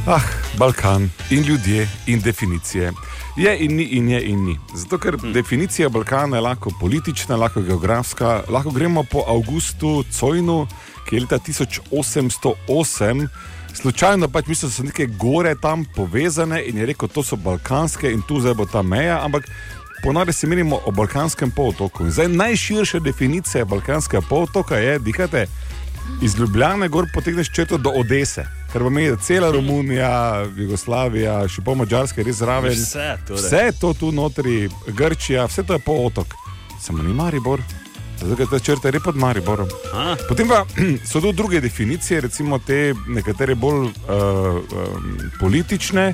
[SPEAKER 3] Ah, Balkan in ljudje in definicije. Je in ni, in je in ni. Zato, ker hmm. definicija Balkana je lahko politična, lahko geografska, lahko gremo po Augustu Cojnu, ki je leta 1808. Slučajno pač mislim, da so neke gore tam povezane in je rekel, to so balkanske in tu zdaj bo ta meja, ampak ponavadi se menimo o balkanskem polotoku. In Zdaj najširša definicija balkanskega polotoka je, dihate, iz Ljubljana gor potegneš črto do Odese, kar pomeni, da cela Romunija, Jugoslavija, še pol Mačarske, res zraven.
[SPEAKER 4] Vse, torej.
[SPEAKER 3] Vse je to tu notri, Grčija, vse to je polotok. Samo ni Maribor, zato ker ta črta je re pod Mariborom.
[SPEAKER 4] Aha.
[SPEAKER 3] Potem pa so tu druge definicije, recimo te nekatere bolj uh, um, politične.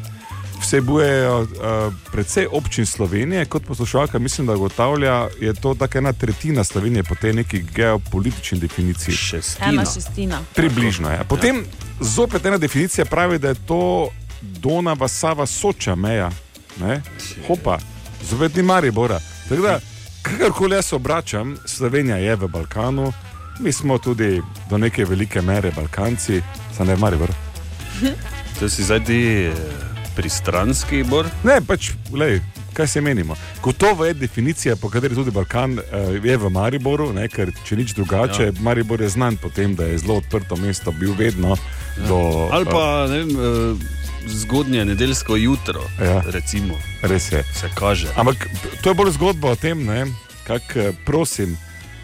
[SPEAKER 3] Vsebujejo uh, predvsej občin Slovenije, kot poslušalka, mislim, da ugotavlja, je to tako ena tretjina Slovenije po tej neki geopolitični definiciji.
[SPEAKER 2] Ena
[SPEAKER 4] Šestina.
[SPEAKER 2] šestina.
[SPEAKER 3] Približno je. Potem ja. zopet ena definicija pravi, da je to Donava, Sava, Soča meja. Ne? Hopa, zopet ni Maribora. Tako da, kakorkoli jaz obračam, Slovenija je v Balkanu, Mi smo tudi do neke velike mere Balkanci, samo ne Maribor.
[SPEAKER 4] To si zdaj ti eh, pristranski, Bor?
[SPEAKER 3] Ne, pač, lej, kaj se menimo. Gotovo je definicija, po kateri tudi Balkan eh, je v Mariboru, ne, ker če nič drugače,
[SPEAKER 4] Ja.
[SPEAKER 3] ja. Maribor je znan po tem, da je zelo odprto mesto, bil vedno ja. do.
[SPEAKER 4] Ali pa ne vem, eh, zgodnje nedeljsko jutro,
[SPEAKER 3] Ja.
[SPEAKER 4] recimo.
[SPEAKER 3] Res je.
[SPEAKER 4] Se kaže.
[SPEAKER 3] Ampak to je bolj zgodba o tem, kako prosim,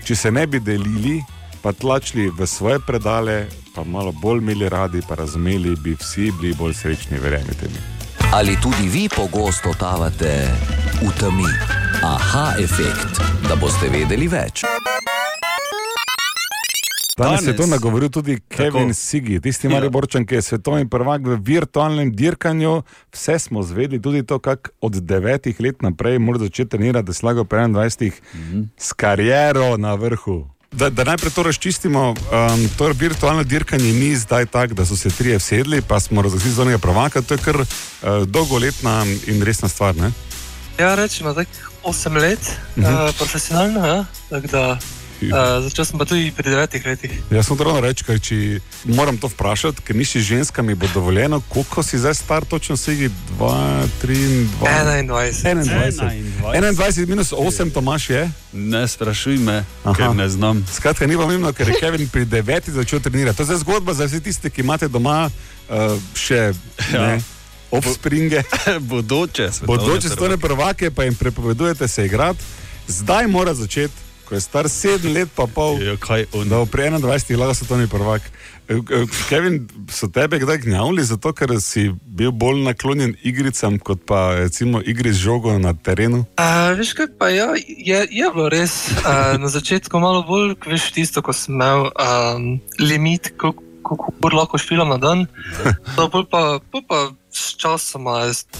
[SPEAKER 3] če se ne bi delili, pa tlačili v svoje predale, pa malo bolj imeli radi, pa razumeli, bi vsi bili bolj srečni, verjemite mi.
[SPEAKER 1] Ali tudi vi pogosto totavate v temi? Aha, efekt, da boste vedeli več.
[SPEAKER 3] Danes, Danes je
[SPEAKER 1] Danes.
[SPEAKER 3] to nagovoril tudi Kevin
[SPEAKER 1] Tako.
[SPEAKER 3] Sigi, tisti Mariborčan, ki je svetovni prvak v virtualnem dirkanju. Vse smo zvedeli, tudi to, kako od devetih let naprej mora začeti trenirati, da slago po 21 mhm. s kariero na vrhu. Da, da najprej to razčistimo, um, torej virtualno dirkanje ni zdaj tako, da so se trije vsedli, pa smo razglasili zonega prvaka, to je kar uh, dolgoletna in resna stvar. Ne?
[SPEAKER 14] Ja, rečemo, da je 8 let,
[SPEAKER 3] Mhm.
[SPEAKER 14] uh, profesionalno. Ja? Tako Da, uh, začel sem pa tudi pri 9 letih.
[SPEAKER 3] Jaz sem ravno reči, ker če moram to vprašati, ker nisi ženska, mi bo dovoljeno, koliko si zdaj star, točno si jih 2, 3, 2.
[SPEAKER 4] 21.
[SPEAKER 3] 21 minus 8, Tomaš je.
[SPEAKER 4] Ne sprašuj me, Aha. ker ne znam.
[SPEAKER 3] Skratka, ni pomembno, ker je Kevin pri 9 začel trenirati. To je zdaj zgodba za vse tiste, ki imate doma uh, še ja. offspringe.
[SPEAKER 4] Bodoče,
[SPEAKER 3] Bodoče svetovne prvake, pa jim prepovedujete se igrati. Zdaj mora začeti, ko je star 7 let pa pol.
[SPEAKER 4] Jo,
[SPEAKER 3] da bo pri 21 lahko svetovni prvak. E, e, Kevin, so tebe kdaj gnjavili zato, ker si bil bolj naklonjen igricam kot pa recimo igri z žogo na terenu?
[SPEAKER 14] Uh, veš, kaj pa ja, je, je bilo res uh, na začetku malo bolj, ko veš tisto, ko sem imel um, limit, koliko koliko ur lahko špilam na dan. To bolj pa, bolj pa s časom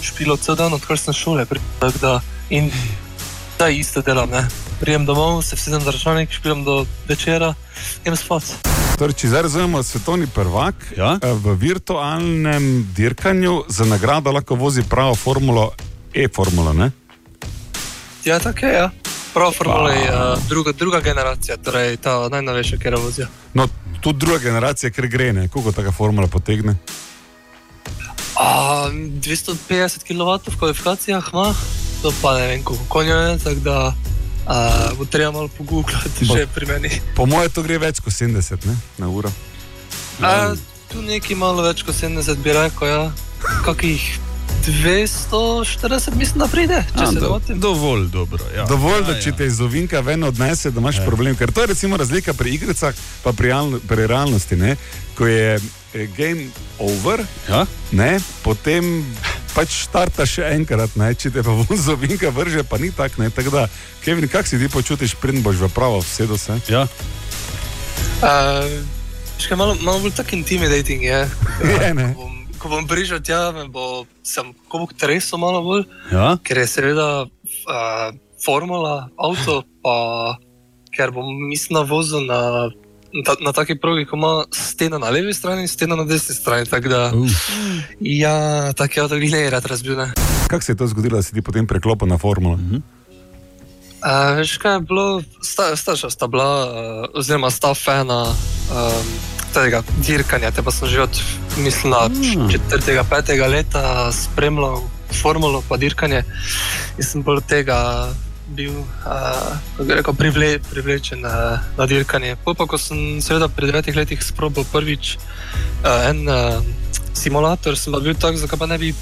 [SPEAKER 14] špilo cel dan, odkar sem šole. pri- tako Da, in da isto delam. Ne. Prijem domov, se vsedem za računalnik, špilam do večera, jem spat.
[SPEAKER 3] Torej, če zdaj razumemo svetovni prvak ja? v virtualnem dirkanju, za nagrado lahko vozi pravo formulo E-formula. Ne?
[SPEAKER 14] Ja, tako je. Ja. Prav, formula je uh, druga, druga generacija, torej ta najnovejša, ki jo vozijo.
[SPEAKER 3] No, tudi druga generacija, ker gre, ne? koliko taka formula potegne.
[SPEAKER 14] A, 250 kW v kvalifikacijah ima, to pa ne vem, koliko konjev je, tako da a, bo treba malo pogooglati, že pri meni.
[SPEAKER 3] Po mojem, to gre več kot 70 ne? na uro.
[SPEAKER 14] A, tu nekaj malo več kot 70 bi rekel, ja. kakih 240 mislim, da pride, če
[SPEAKER 4] A,
[SPEAKER 14] se
[SPEAKER 4] do,
[SPEAKER 14] motim.
[SPEAKER 4] dovolj dobro. Ja.
[SPEAKER 3] Dovolj,
[SPEAKER 4] ja,
[SPEAKER 3] da če te iz ovinka ven odnese, da imaš problem. Ker to je recimo razlika pri igricah in pri, realno- pri realnosti. Ne? Ko je eh, game over,
[SPEAKER 4] ja?
[SPEAKER 3] ne? potem pač starta še enkrat, ne? če te pa ven z ovinka vrže, pa ni tak. Ne? Tako da, Kevin, kak si ti počutiš, pridem boš v pravo, vse do se?
[SPEAKER 4] Ja.
[SPEAKER 14] Uh, še malo, malo bolj tako intimidating je.
[SPEAKER 4] Ja.
[SPEAKER 3] je ne?
[SPEAKER 14] Ko bom prišel tja, me bo, sem, ko bo tresel malo bolj,
[SPEAKER 4] Ja?
[SPEAKER 14] ker je seveda uh, formula, avto, pa ker bom mislim na vozu na, na, na taki progi, ko ima steno na levi strani in steno na desni strani. Tako da, ja, tako je avto glede rad razbil. ne.
[SPEAKER 3] Kako se je to zgodilo, da si ti potem preklopil na formulo? Mhm.
[SPEAKER 14] A, Eh, veš, kaj je bilo, sta, starša sta bila, uh, oziroma sta fena um, tega dirkanja. Te pa sem že od, mislim, da
[SPEAKER 4] Mm.
[SPEAKER 14] četrtega, petega leta spremljal formulo pa dirkanje in sem bolj tega bil, uh, kako bi rekel, privle, privlečen uh, na dirkanje. Pol pa, ko sem seveda pri devetih letih sprobil prvič uh, en uh, simulator, sem pa bil tak, zakaj pa ne bi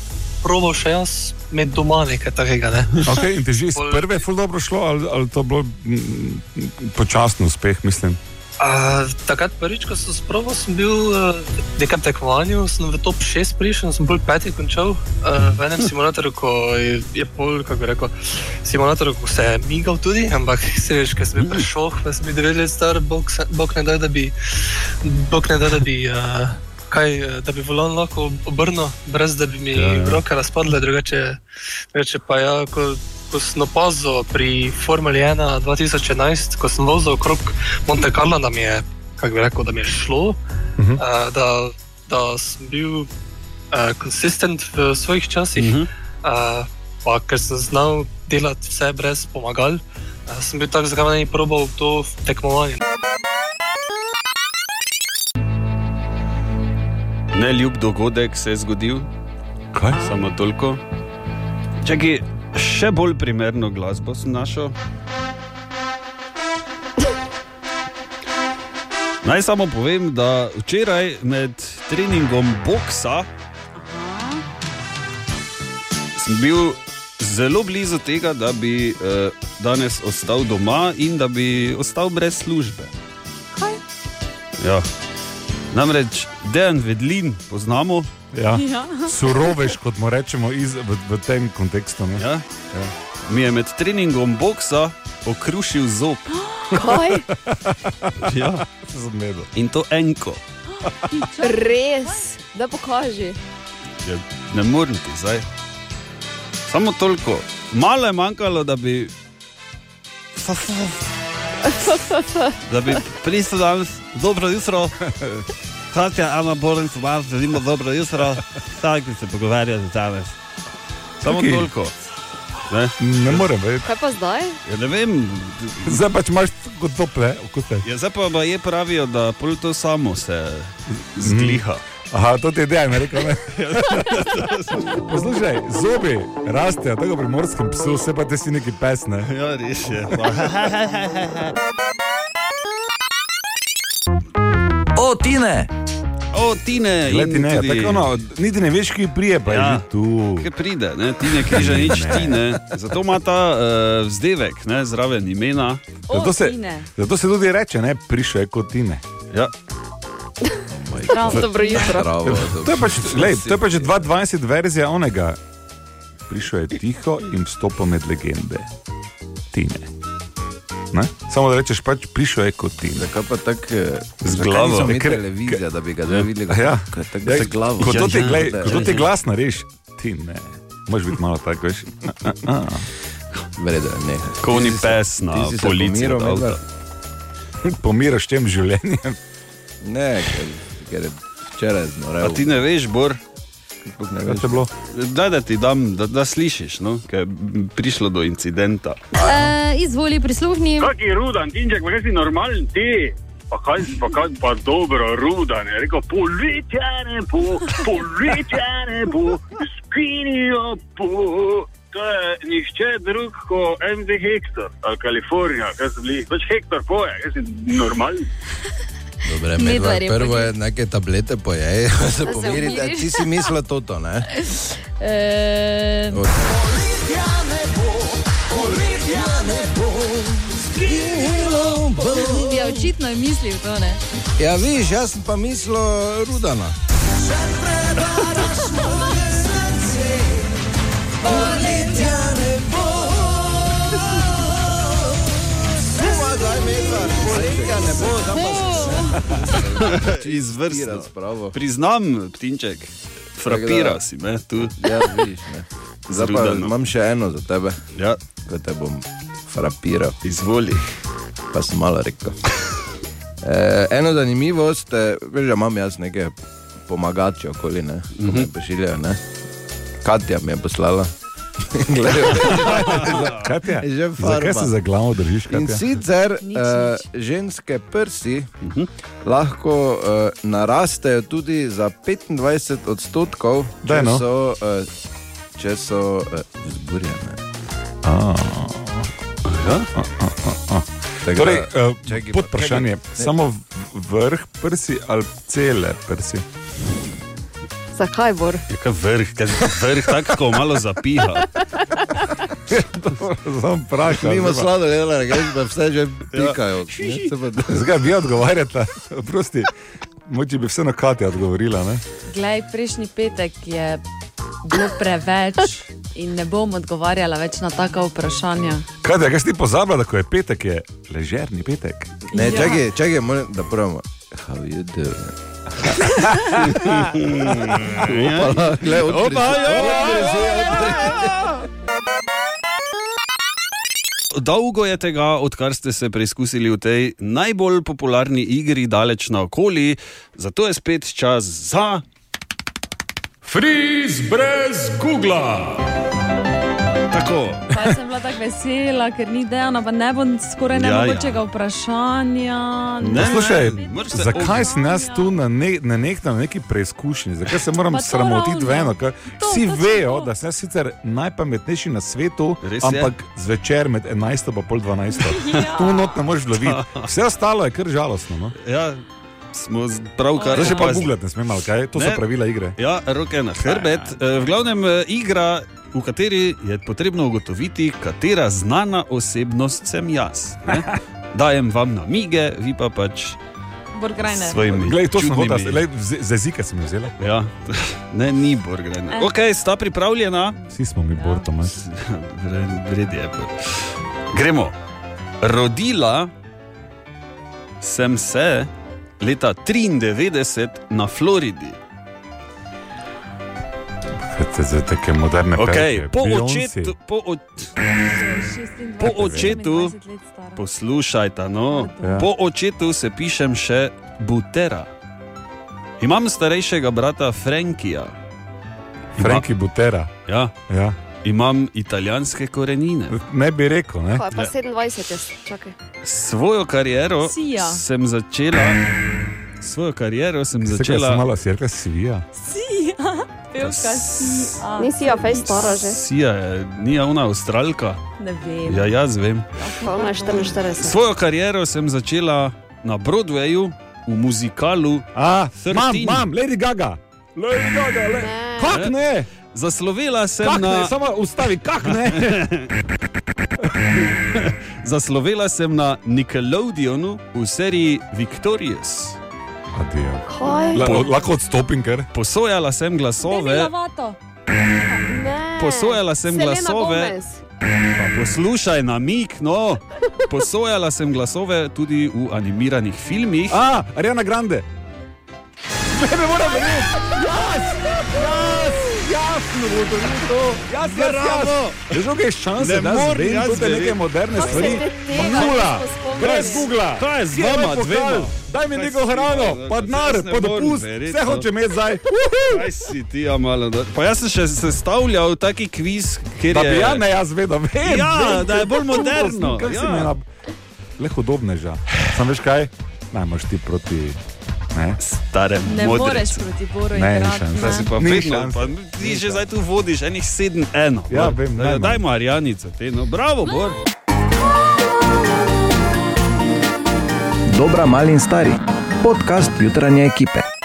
[SPEAKER 14] probal še jaz, med doma nekaj takega. Ne?
[SPEAKER 3] Okay, in ti že iz prve ful dobro šlo, ali, ali to bilo mm, počasen uspeh, mislim?
[SPEAKER 14] Uh, takrat, prvič, ko sem sproval, sem bil uh, v nekem tekmovanju, sem v top 6 prišel, sem bolj peti končal uh, v enem simulatorju, ko je, je pol, kako bi rekel, simulator, ko se je migal tudi, ampak se veš, ker sem bil prešel, pa sem bil 9 let star, bog, se- bog ne da, da bi, bog ne da, da bi, uh, kaj, eh, da bi volan lahko obrnil, brez da bi mi
[SPEAKER 4] Ja,
[SPEAKER 14] ja,
[SPEAKER 4] ja.
[SPEAKER 14] ja. roke razpadle, drugače, drugače pa ja, ko, ko sem opazil pri Formuli 1 2011, ko sem vozil okrog Monte Carlo, da mi je, kako bi rekel, da mi je šlo,
[SPEAKER 15] Mhm.
[SPEAKER 14] uh, da, da sem bil konsistent uh, v svojih časih.
[SPEAKER 15] Mhm.
[SPEAKER 14] Uh, pa ker sem znal delati eh, vse brez pomagal, uh, sem bil tak, zakaj ne bi probal to tekmovanje.
[SPEAKER 4] neljub dogodek se je zgodil.
[SPEAKER 9] Kaj?
[SPEAKER 4] Samo toliko. Čakaj, še bolj primerno glasbo sem našel. Naj samo povem, da včeraj med treningom boksa sem bil zelo blizu tega, da bi eh, danes ostal doma in da bi ostal brez službe. Kaj? Ja. Namreč Dejan Vedlin poznamo.
[SPEAKER 3] Ja. Ja. Surovež, kot mu rečemo iz, v, v tem kontekstu. Ne?
[SPEAKER 4] Ja. Ja. Mi je med treningom boksa okrušil zob.
[SPEAKER 5] Kaj?
[SPEAKER 4] Ja.
[SPEAKER 3] Zmedo.
[SPEAKER 4] In to enko.
[SPEAKER 5] Res, da pokaži.
[SPEAKER 4] Ja, ne morem ti zdaj. Samo toliko. Malo je manjkalo, da bi, da bi prišel danes dobro jutro. Katja, Ana Borenc, vam želimo dobro jutro. Tako se pogovarjate danes. Samo
[SPEAKER 3] Okej.
[SPEAKER 4] toliko. Ne,
[SPEAKER 3] ne morem vedeti.
[SPEAKER 5] Kaj pa zdaj?
[SPEAKER 4] Ja, ne vem.
[SPEAKER 3] Zdaj pač imaš kot tople okuse.
[SPEAKER 4] Ja, zdaj pa baje pravijo, da pol to samo se zgliha.
[SPEAKER 3] Aha, to ti je dejanje, rekel ne. Poslušaj, zobi rastejo, tako pri morskem psu, vse pa te si neki pes. Ne?
[SPEAKER 4] Ja, res je.
[SPEAKER 1] O, tine!
[SPEAKER 4] O, tine!
[SPEAKER 3] Glej, ti ne,
[SPEAKER 4] in tudi-
[SPEAKER 3] tako, no, niti ne veš, ki prije, pa
[SPEAKER 4] Ja.
[SPEAKER 3] je že tu.
[SPEAKER 4] Kaj pride, ne? ti ne križa nič,
[SPEAKER 3] Ne.
[SPEAKER 4] ti ne. Zato ima ta uh, vzdevek, ne? zraven imena.
[SPEAKER 6] O,
[SPEAKER 3] Zato se,
[SPEAKER 6] Tine.
[SPEAKER 3] zato se tudi reče, ne, prišel je kot tine.
[SPEAKER 4] Ja.
[SPEAKER 5] Prav, dobro jutro.
[SPEAKER 3] To je pač, lej, to je pač 22 verzija onega. Prišel je tiho in vstopil med legende. Tine. Ne? Samo da rečeš, pač prišel je kot tine.
[SPEAKER 13] Zakaj pa tako eh,
[SPEAKER 3] z glavo?
[SPEAKER 13] Zakaj
[SPEAKER 3] Ker-
[SPEAKER 13] ker televizija, da bi ga zdaj videli.
[SPEAKER 3] Ja. Ja.
[SPEAKER 13] Ko je tako
[SPEAKER 3] Ja,
[SPEAKER 13] z glavo.
[SPEAKER 3] Ko to ti, glej, ko to ti
[SPEAKER 13] Ja.
[SPEAKER 3] glas nareš, ti ne. Možeš biti malo tako, veš.
[SPEAKER 13] Vredo, ne.
[SPEAKER 4] Kovni pes na
[SPEAKER 13] ti si se
[SPEAKER 4] polici
[SPEAKER 13] pomiral,
[SPEAKER 4] od avta.
[SPEAKER 13] Medved?
[SPEAKER 3] Pomiraš tem življenjem.
[SPEAKER 13] Ne, ker, ker je včeraj znorev.
[SPEAKER 4] A ti ne veš, Bor?
[SPEAKER 13] ne
[SPEAKER 3] veš. je bilo?
[SPEAKER 4] Da, da ti dam, da, da slišiš, no? ker je prišlo do incidenta.
[SPEAKER 15] Uh, izvoli, prisluhni.
[SPEAKER 16] Kaki rudan, tinček, pa kaj si normalen ti? Pa kaj, pa kaj, pa dobro, rudan. Je rekel, poletje ne bo, poletje ne bo, skinijo bo. To je nihče drug kot MD Hector ali Kalifornija, kaj so bili. Pač Hector poje, kaj si normalen.
[SPEAKER 13] Dobre,
[SPEAKER 15] Medved
[SPEAKER 13] medva,
[SPEAKER 15] je
[SPEAKER 13] prvo
[SPEAKER 15] pojedel.
[SPEAKER 13] je neke tablete pojejo, da se
[SPEAKER 15] Da se
[SPEAKER 13] pomiri.
[SPEAKER 15] umiri.
[SPEAKER 13] Ti si mislil toto, ne?
[SPEAKER 15] Uh,
[SPEAKER 13] Od-
[SPEAKER 15] ja, očitno je mislil to, ne?
[SPEAKER 13] Ja, vidiš, jaz sem pa mislil Rudana.
[SPEAKER 4] Pač Izvrstno. Priznam, Tinček,
[SPEAKER 13] Tako da-
[SPEAKER 4] frapira si me tu.
[SPEAKER 13] Ja, vidiš, ne. Zdaj pa
[SPEAKER 4] Zrudano.
[SPEAKER 13] imam še eno za tebe.
[SPEAKER 4] Ja.
[SPEAKER 13] Ko te bom frapiral.
[SPEAKER 4] Izvoli.
[SPEAKER 13] Pa sem malo rekel. E, eno zanimivost, eh, veš, da imam jaz neke pomagače okoli, ne, ko
[SPEAKER 3] Mhm.
[SPEAKER 13] mm -hmm. me pošiljajo, ne. Katja mi je poslala. Gledajo.
[SPEAKER 3] Katja,
[SPEAKER 13] Že
[SPEAKER 3] zakaj
[SPEAKER 13] farba.
[SPEAKER 3] se za glavo držiš,
[SPEAKER 13] In
[SPEAKER 3] Katja?
[SPEAKER 13] sicer uh, ženske prsi uh
[SPEAKER 3] Mhm.
[SPEAKER 13] -huh. lahko uh, narastejo tudi za 25 odstotkov,
[SPEAKER 3] Daj,
[SPEAKER 13] če
[SPEAKER 3] no.
[SPEAKER 13] so, uh, če so uh, vzburjene.
[SPEAKER 3] A.
[SPEAKER 13] Ja?
[SPEAKER 3] A, a, a, a.
[SPEAKER 13] Tega-
[SPEAKER 3] Torej, eh,
[SPEAKER 13] Ja, Čakaj,
[SPEAKER 3] pod
[SPEAKER 13] pa-
[SPEAKER 3] vprašanje,
[SPEAKER 13] čakaj, ne.
[SPEAKER 3] samo v- vrh prsi ali cele prsi.
[SPEAKER 5] Zakaj, Bor?
[SPEAKER 4] Ja, kaj vrh, kaj vrh tako ko malo zapiha.
[SPEAKER 3] Sam vprašam.
[SPEAKER 13] Mimo
[SPEAKER 3] zdaj pa-
[SPEAKER 13] sladoleda, rečeš, da vse že pikajo. ne, se pa-
[SPEAKER 3] Zakaj vi odgovarjate? Prosti, moče bi vseeno Katja odgovorila. Ne?
[SPEAKER 6] Glej, prejšnji petek je bilo preveč in ne bom odgovarjala več na taka vprašanja.
[SPEAKER 3] Katja, kaj si ti pozabila, da ko je petek, je ležerni petek?
[SPEAKER 13] Ne,
[SPEAKER 6] Ja.
[SPEAKER 13] čakaj, čakaj, moram, da pravimo. How you doing?
[SPEAKER 4] Ja.
[SPEAKER 13] Opa, glej, odkrij se.
[SPEAKER 4] Dolgo je tega, odkar ste se preizkusili v tej najbolj popularni igri, daleč naokoli, zato je spet čas za. Friz brez Google! Tako.
[SPEAKER 2] Pa sem bila tako vesela, ker ni dejana, pa ne bom skoraj nemogočega ja, ja. vprašanja.
[SPEAKER 3] Poslušaj, zakaj sem jaz tu na, ne, na nek na neki preizkušnji, zakaj se moram
[SPEAKER 2] Pa to
[SPEAKER 3] sramotiti
[SPEAKER 2] ravno.
[SPEAKER 3] v eno? Ker
[SPEAKER 2] To,
[SPEAKER 3] Vsi
[SPEAKER 2] točno
[SPEAKER 3] vejo, da sem jaz sicer najpametnejši na svetu,
[SPEAKER 4] Res je.
[SPEAKER 3] ampak zvečer med 11 in pol 12. Tu not ne moreš loviti. Vse ostalo je kar žalostno. No?
[SPEAKER 4] Ja, smo pravkar.
[SPEAKER 3] Zdaj še pa
[SPEAKER 4] opazili.
[SPEAKER 3] googlati ne smem, ali kaj? To so
[SPEAKER 4] Ne.
[SPEAKER 3] pravila igre.
[SPEAKER 4] Ja, roke na hrbet. Eh, V glavnem eh, igra, v kateri je potrebno ugotoviti, katera znana osebnost sem jaz. Ne? Dajem vam namige, vi pa pač
[SPEAKER 2] Borgrajne.
[SPEAKER 4] svojimi.
[SPEAKER 3] Glej, to sem
[SPEAKER 4] čudnimi-
[SPEAKER 3] hotel, glej, z z jezika sem jo vzela.
[SPEAKER 4] Ja, ne, ni
[SPEAKER 2] Eh.
[SPEAKER 4] Borgrajne. Ok, sta pripravljena?
[SPEAKER 3] Vsi smo mi borto, manj.
[SPEAKER 4] Vredi je. Gremo. Rodila sem se leta 93 na Floridi.
[SPEAKER 3] Za take moderne
[SPEAKER 4] Okay,
[SPEAKER 3] pesmi.
[SPEAKER 4] po,
[SPEAKER 3] Beyoncé.
[SPEAKER 4] očetu, po, o, po očetu, poslušajte, no,
[SPEAKER 3] Ja.
[SPEAKER 4] po očetu se pišem še Butera. Imam starejšega brata Frankija.
[SPEAKER 3] Franki Butera.
[SPEAKER 4] Ja.
[SPEAKER 3] Ja.
[SPEAKER 4] Imam italijanske korenine.
[SPEAKER 3] Ne bi rekel, ne?
[SPEAKER 5] Pa,
[SPEAKER 4] Eh, ja.
[SPEAKER 5] pa 27 je, čakaj.
[SPEAKER 4] Svojo kariero
[SPEAKER 5] Sija.
[SPEAKER 4] sem začela. Svojo kariero sem
[SPEAKER 3] Vse, kar
[SPEAKER 4] začela.
[SPEAKER 3] sem malo sirka svija.
[SPEAKER 2] Sija, pevka Sija.
[SPEAKER 5] Nisi ja, fej stara že.
[SPEAKER 4] Sija je, ni ona avstralka.
[SPEAKER 2] Ne vem.
[SPEAKER 4] Ja, jaz vem.
[SPEAKER 5] Pa ona je 44.
[SPEAKER 4] Svojo kariero sem začela na Broadwayu, v muzikalu.
[SPEAKER 3] A,
[SPEAKER 4] imam, imam,
[SPEAKER 3] Lady Gaga. Lady Gaga, le. Kak ne?
[SPEAKER 4] Zaslovela sem
[SPEAKER 3] Kak
[SPEAKER 4] na.
[SPEAKER 3] ne? Samo ustavi, kak ne?
[SPEAKER 4] Zaslovela sem na Nickelodeonu v seriji Victorious.
[SPEAKER 3] Adijo.
[SPEAKER 5] Kaj?
[SPEAKER 3] ja. La- lahko odstopim, ker.
[SPEAKER 4] Posojala sem glasove,
[SPEAKER 2] Lavato.
[SPEAKER 5] Ne.
[SPEAKER 4] posojala sem
[SPEAKER 5] Selena
[SPEAKER 4] glasove.
[SPEAKER 5] Gomez.
[SPEAKER 4] Pa poslušaj na mik, no. Posojala sem glasove tudi v animiranih filmih.
[SPEAKER 3] A, Ariana Grande. Ne, ne moram verjeti. Jaz, jaz, jasno bo to ni to. Jaz, jaz,
[SPEAKER 4] Bravo.
[SPEAKER 3] jaz. Že kaj šanse,
[SPEAKER 4] Ne
[SPEAKER 3] da
[SPEAKER 4] morem
[SPEAKER 3] zvem
[SPEAKER 4] jaz
[SPEAKER 3] tudi neke
[SPEAKER 4] verjeti.
[SPEAKER 3] moderne
[SPEAKER 5] Kako se
[SPEAKER 3] stvari.
[SPEAKER 5] te tega
[SPEAKER 3] Nula,
[SPEAKER 5] nismo spomnili?
[SPEAKER 3] brez Google.
[SPEAKER 4] Kaj je z
[SPEAKER 3] Kje je
[SPEAKER 4] vama
[SPEAKER 3] moj pokal?
[SPEAKER 4] dvema?
[SPEAKER 3] Daj mi
[SPEAKER 4] Kaj
[SPEAKER 3] neko
[SPEAKER 4] si,
[SPEAKER 3] hrano,
[SPEAKER 4] Marko,
[SPEAKER 3] pa
[SPEAKER 4] saj
[SPEAKER 3] denar,
[SPEAKER 4] jaz ne
[SPEAKER 3] pa
[SPEAKER 4] morem
[SPEAKER 3] dopust,
[SPEAKER 4] verjeti,
[SPEAKER 3] vse
[SPEAKER 4] no.
[SPEAKER 3] hočem imeti zdaj. Uhu.
[SPEAKER 4] Kaj si ti, ja, malo? da- Pa jaz sem še sestavljal taki kviz, kjer
[SPEAKER 3] Da
[SPEAKER 4] je.
[SPEAKER 3] bi ja ne jaz vedel, vem,
[SPEAKER 4] Ja,
[SPEAKER 3] vem,
[SPEAKER 4] da je bolj
[SPEAKER 3] kako
[SPEAKER 4] moderno,
[SPEAKER 3] sem, kaj si
[SPEAKER 4] ja.
[SPEAKER 3] me na- Le hudobneža. Sam veš kaj? Najmaš ti proti. Ne?
[SPEAKER 4] Starem
[SPEAKER 2] Ne
[SPEAKER 4] modrec.
[SPEAKER 2] moreš proti boru
[SPEAKER 3] Ne, ni
[SPEAKER 2] igrati.
[SPEAKER 3] šans.
[SPEAKER 4] Zdaj si pa
[SPEAKER 3] Ni
[SPEAKER 4] vedno,
[SPEAKER 3] šanse.
[SPEAKER 4] no, pa ti že zdaj tu vodiš enih 7-1.
[SPEAKER 3] Ja,
[SPEAKER 4] no.
[SPEAKER 3] vem, najmanj.
[SPEAKER 4] Da- Dajmo Arjanico, te no, bravo, Bor.
[SPEAKER 17] Dobra, mali in stari. Podcast jutranje ekipe.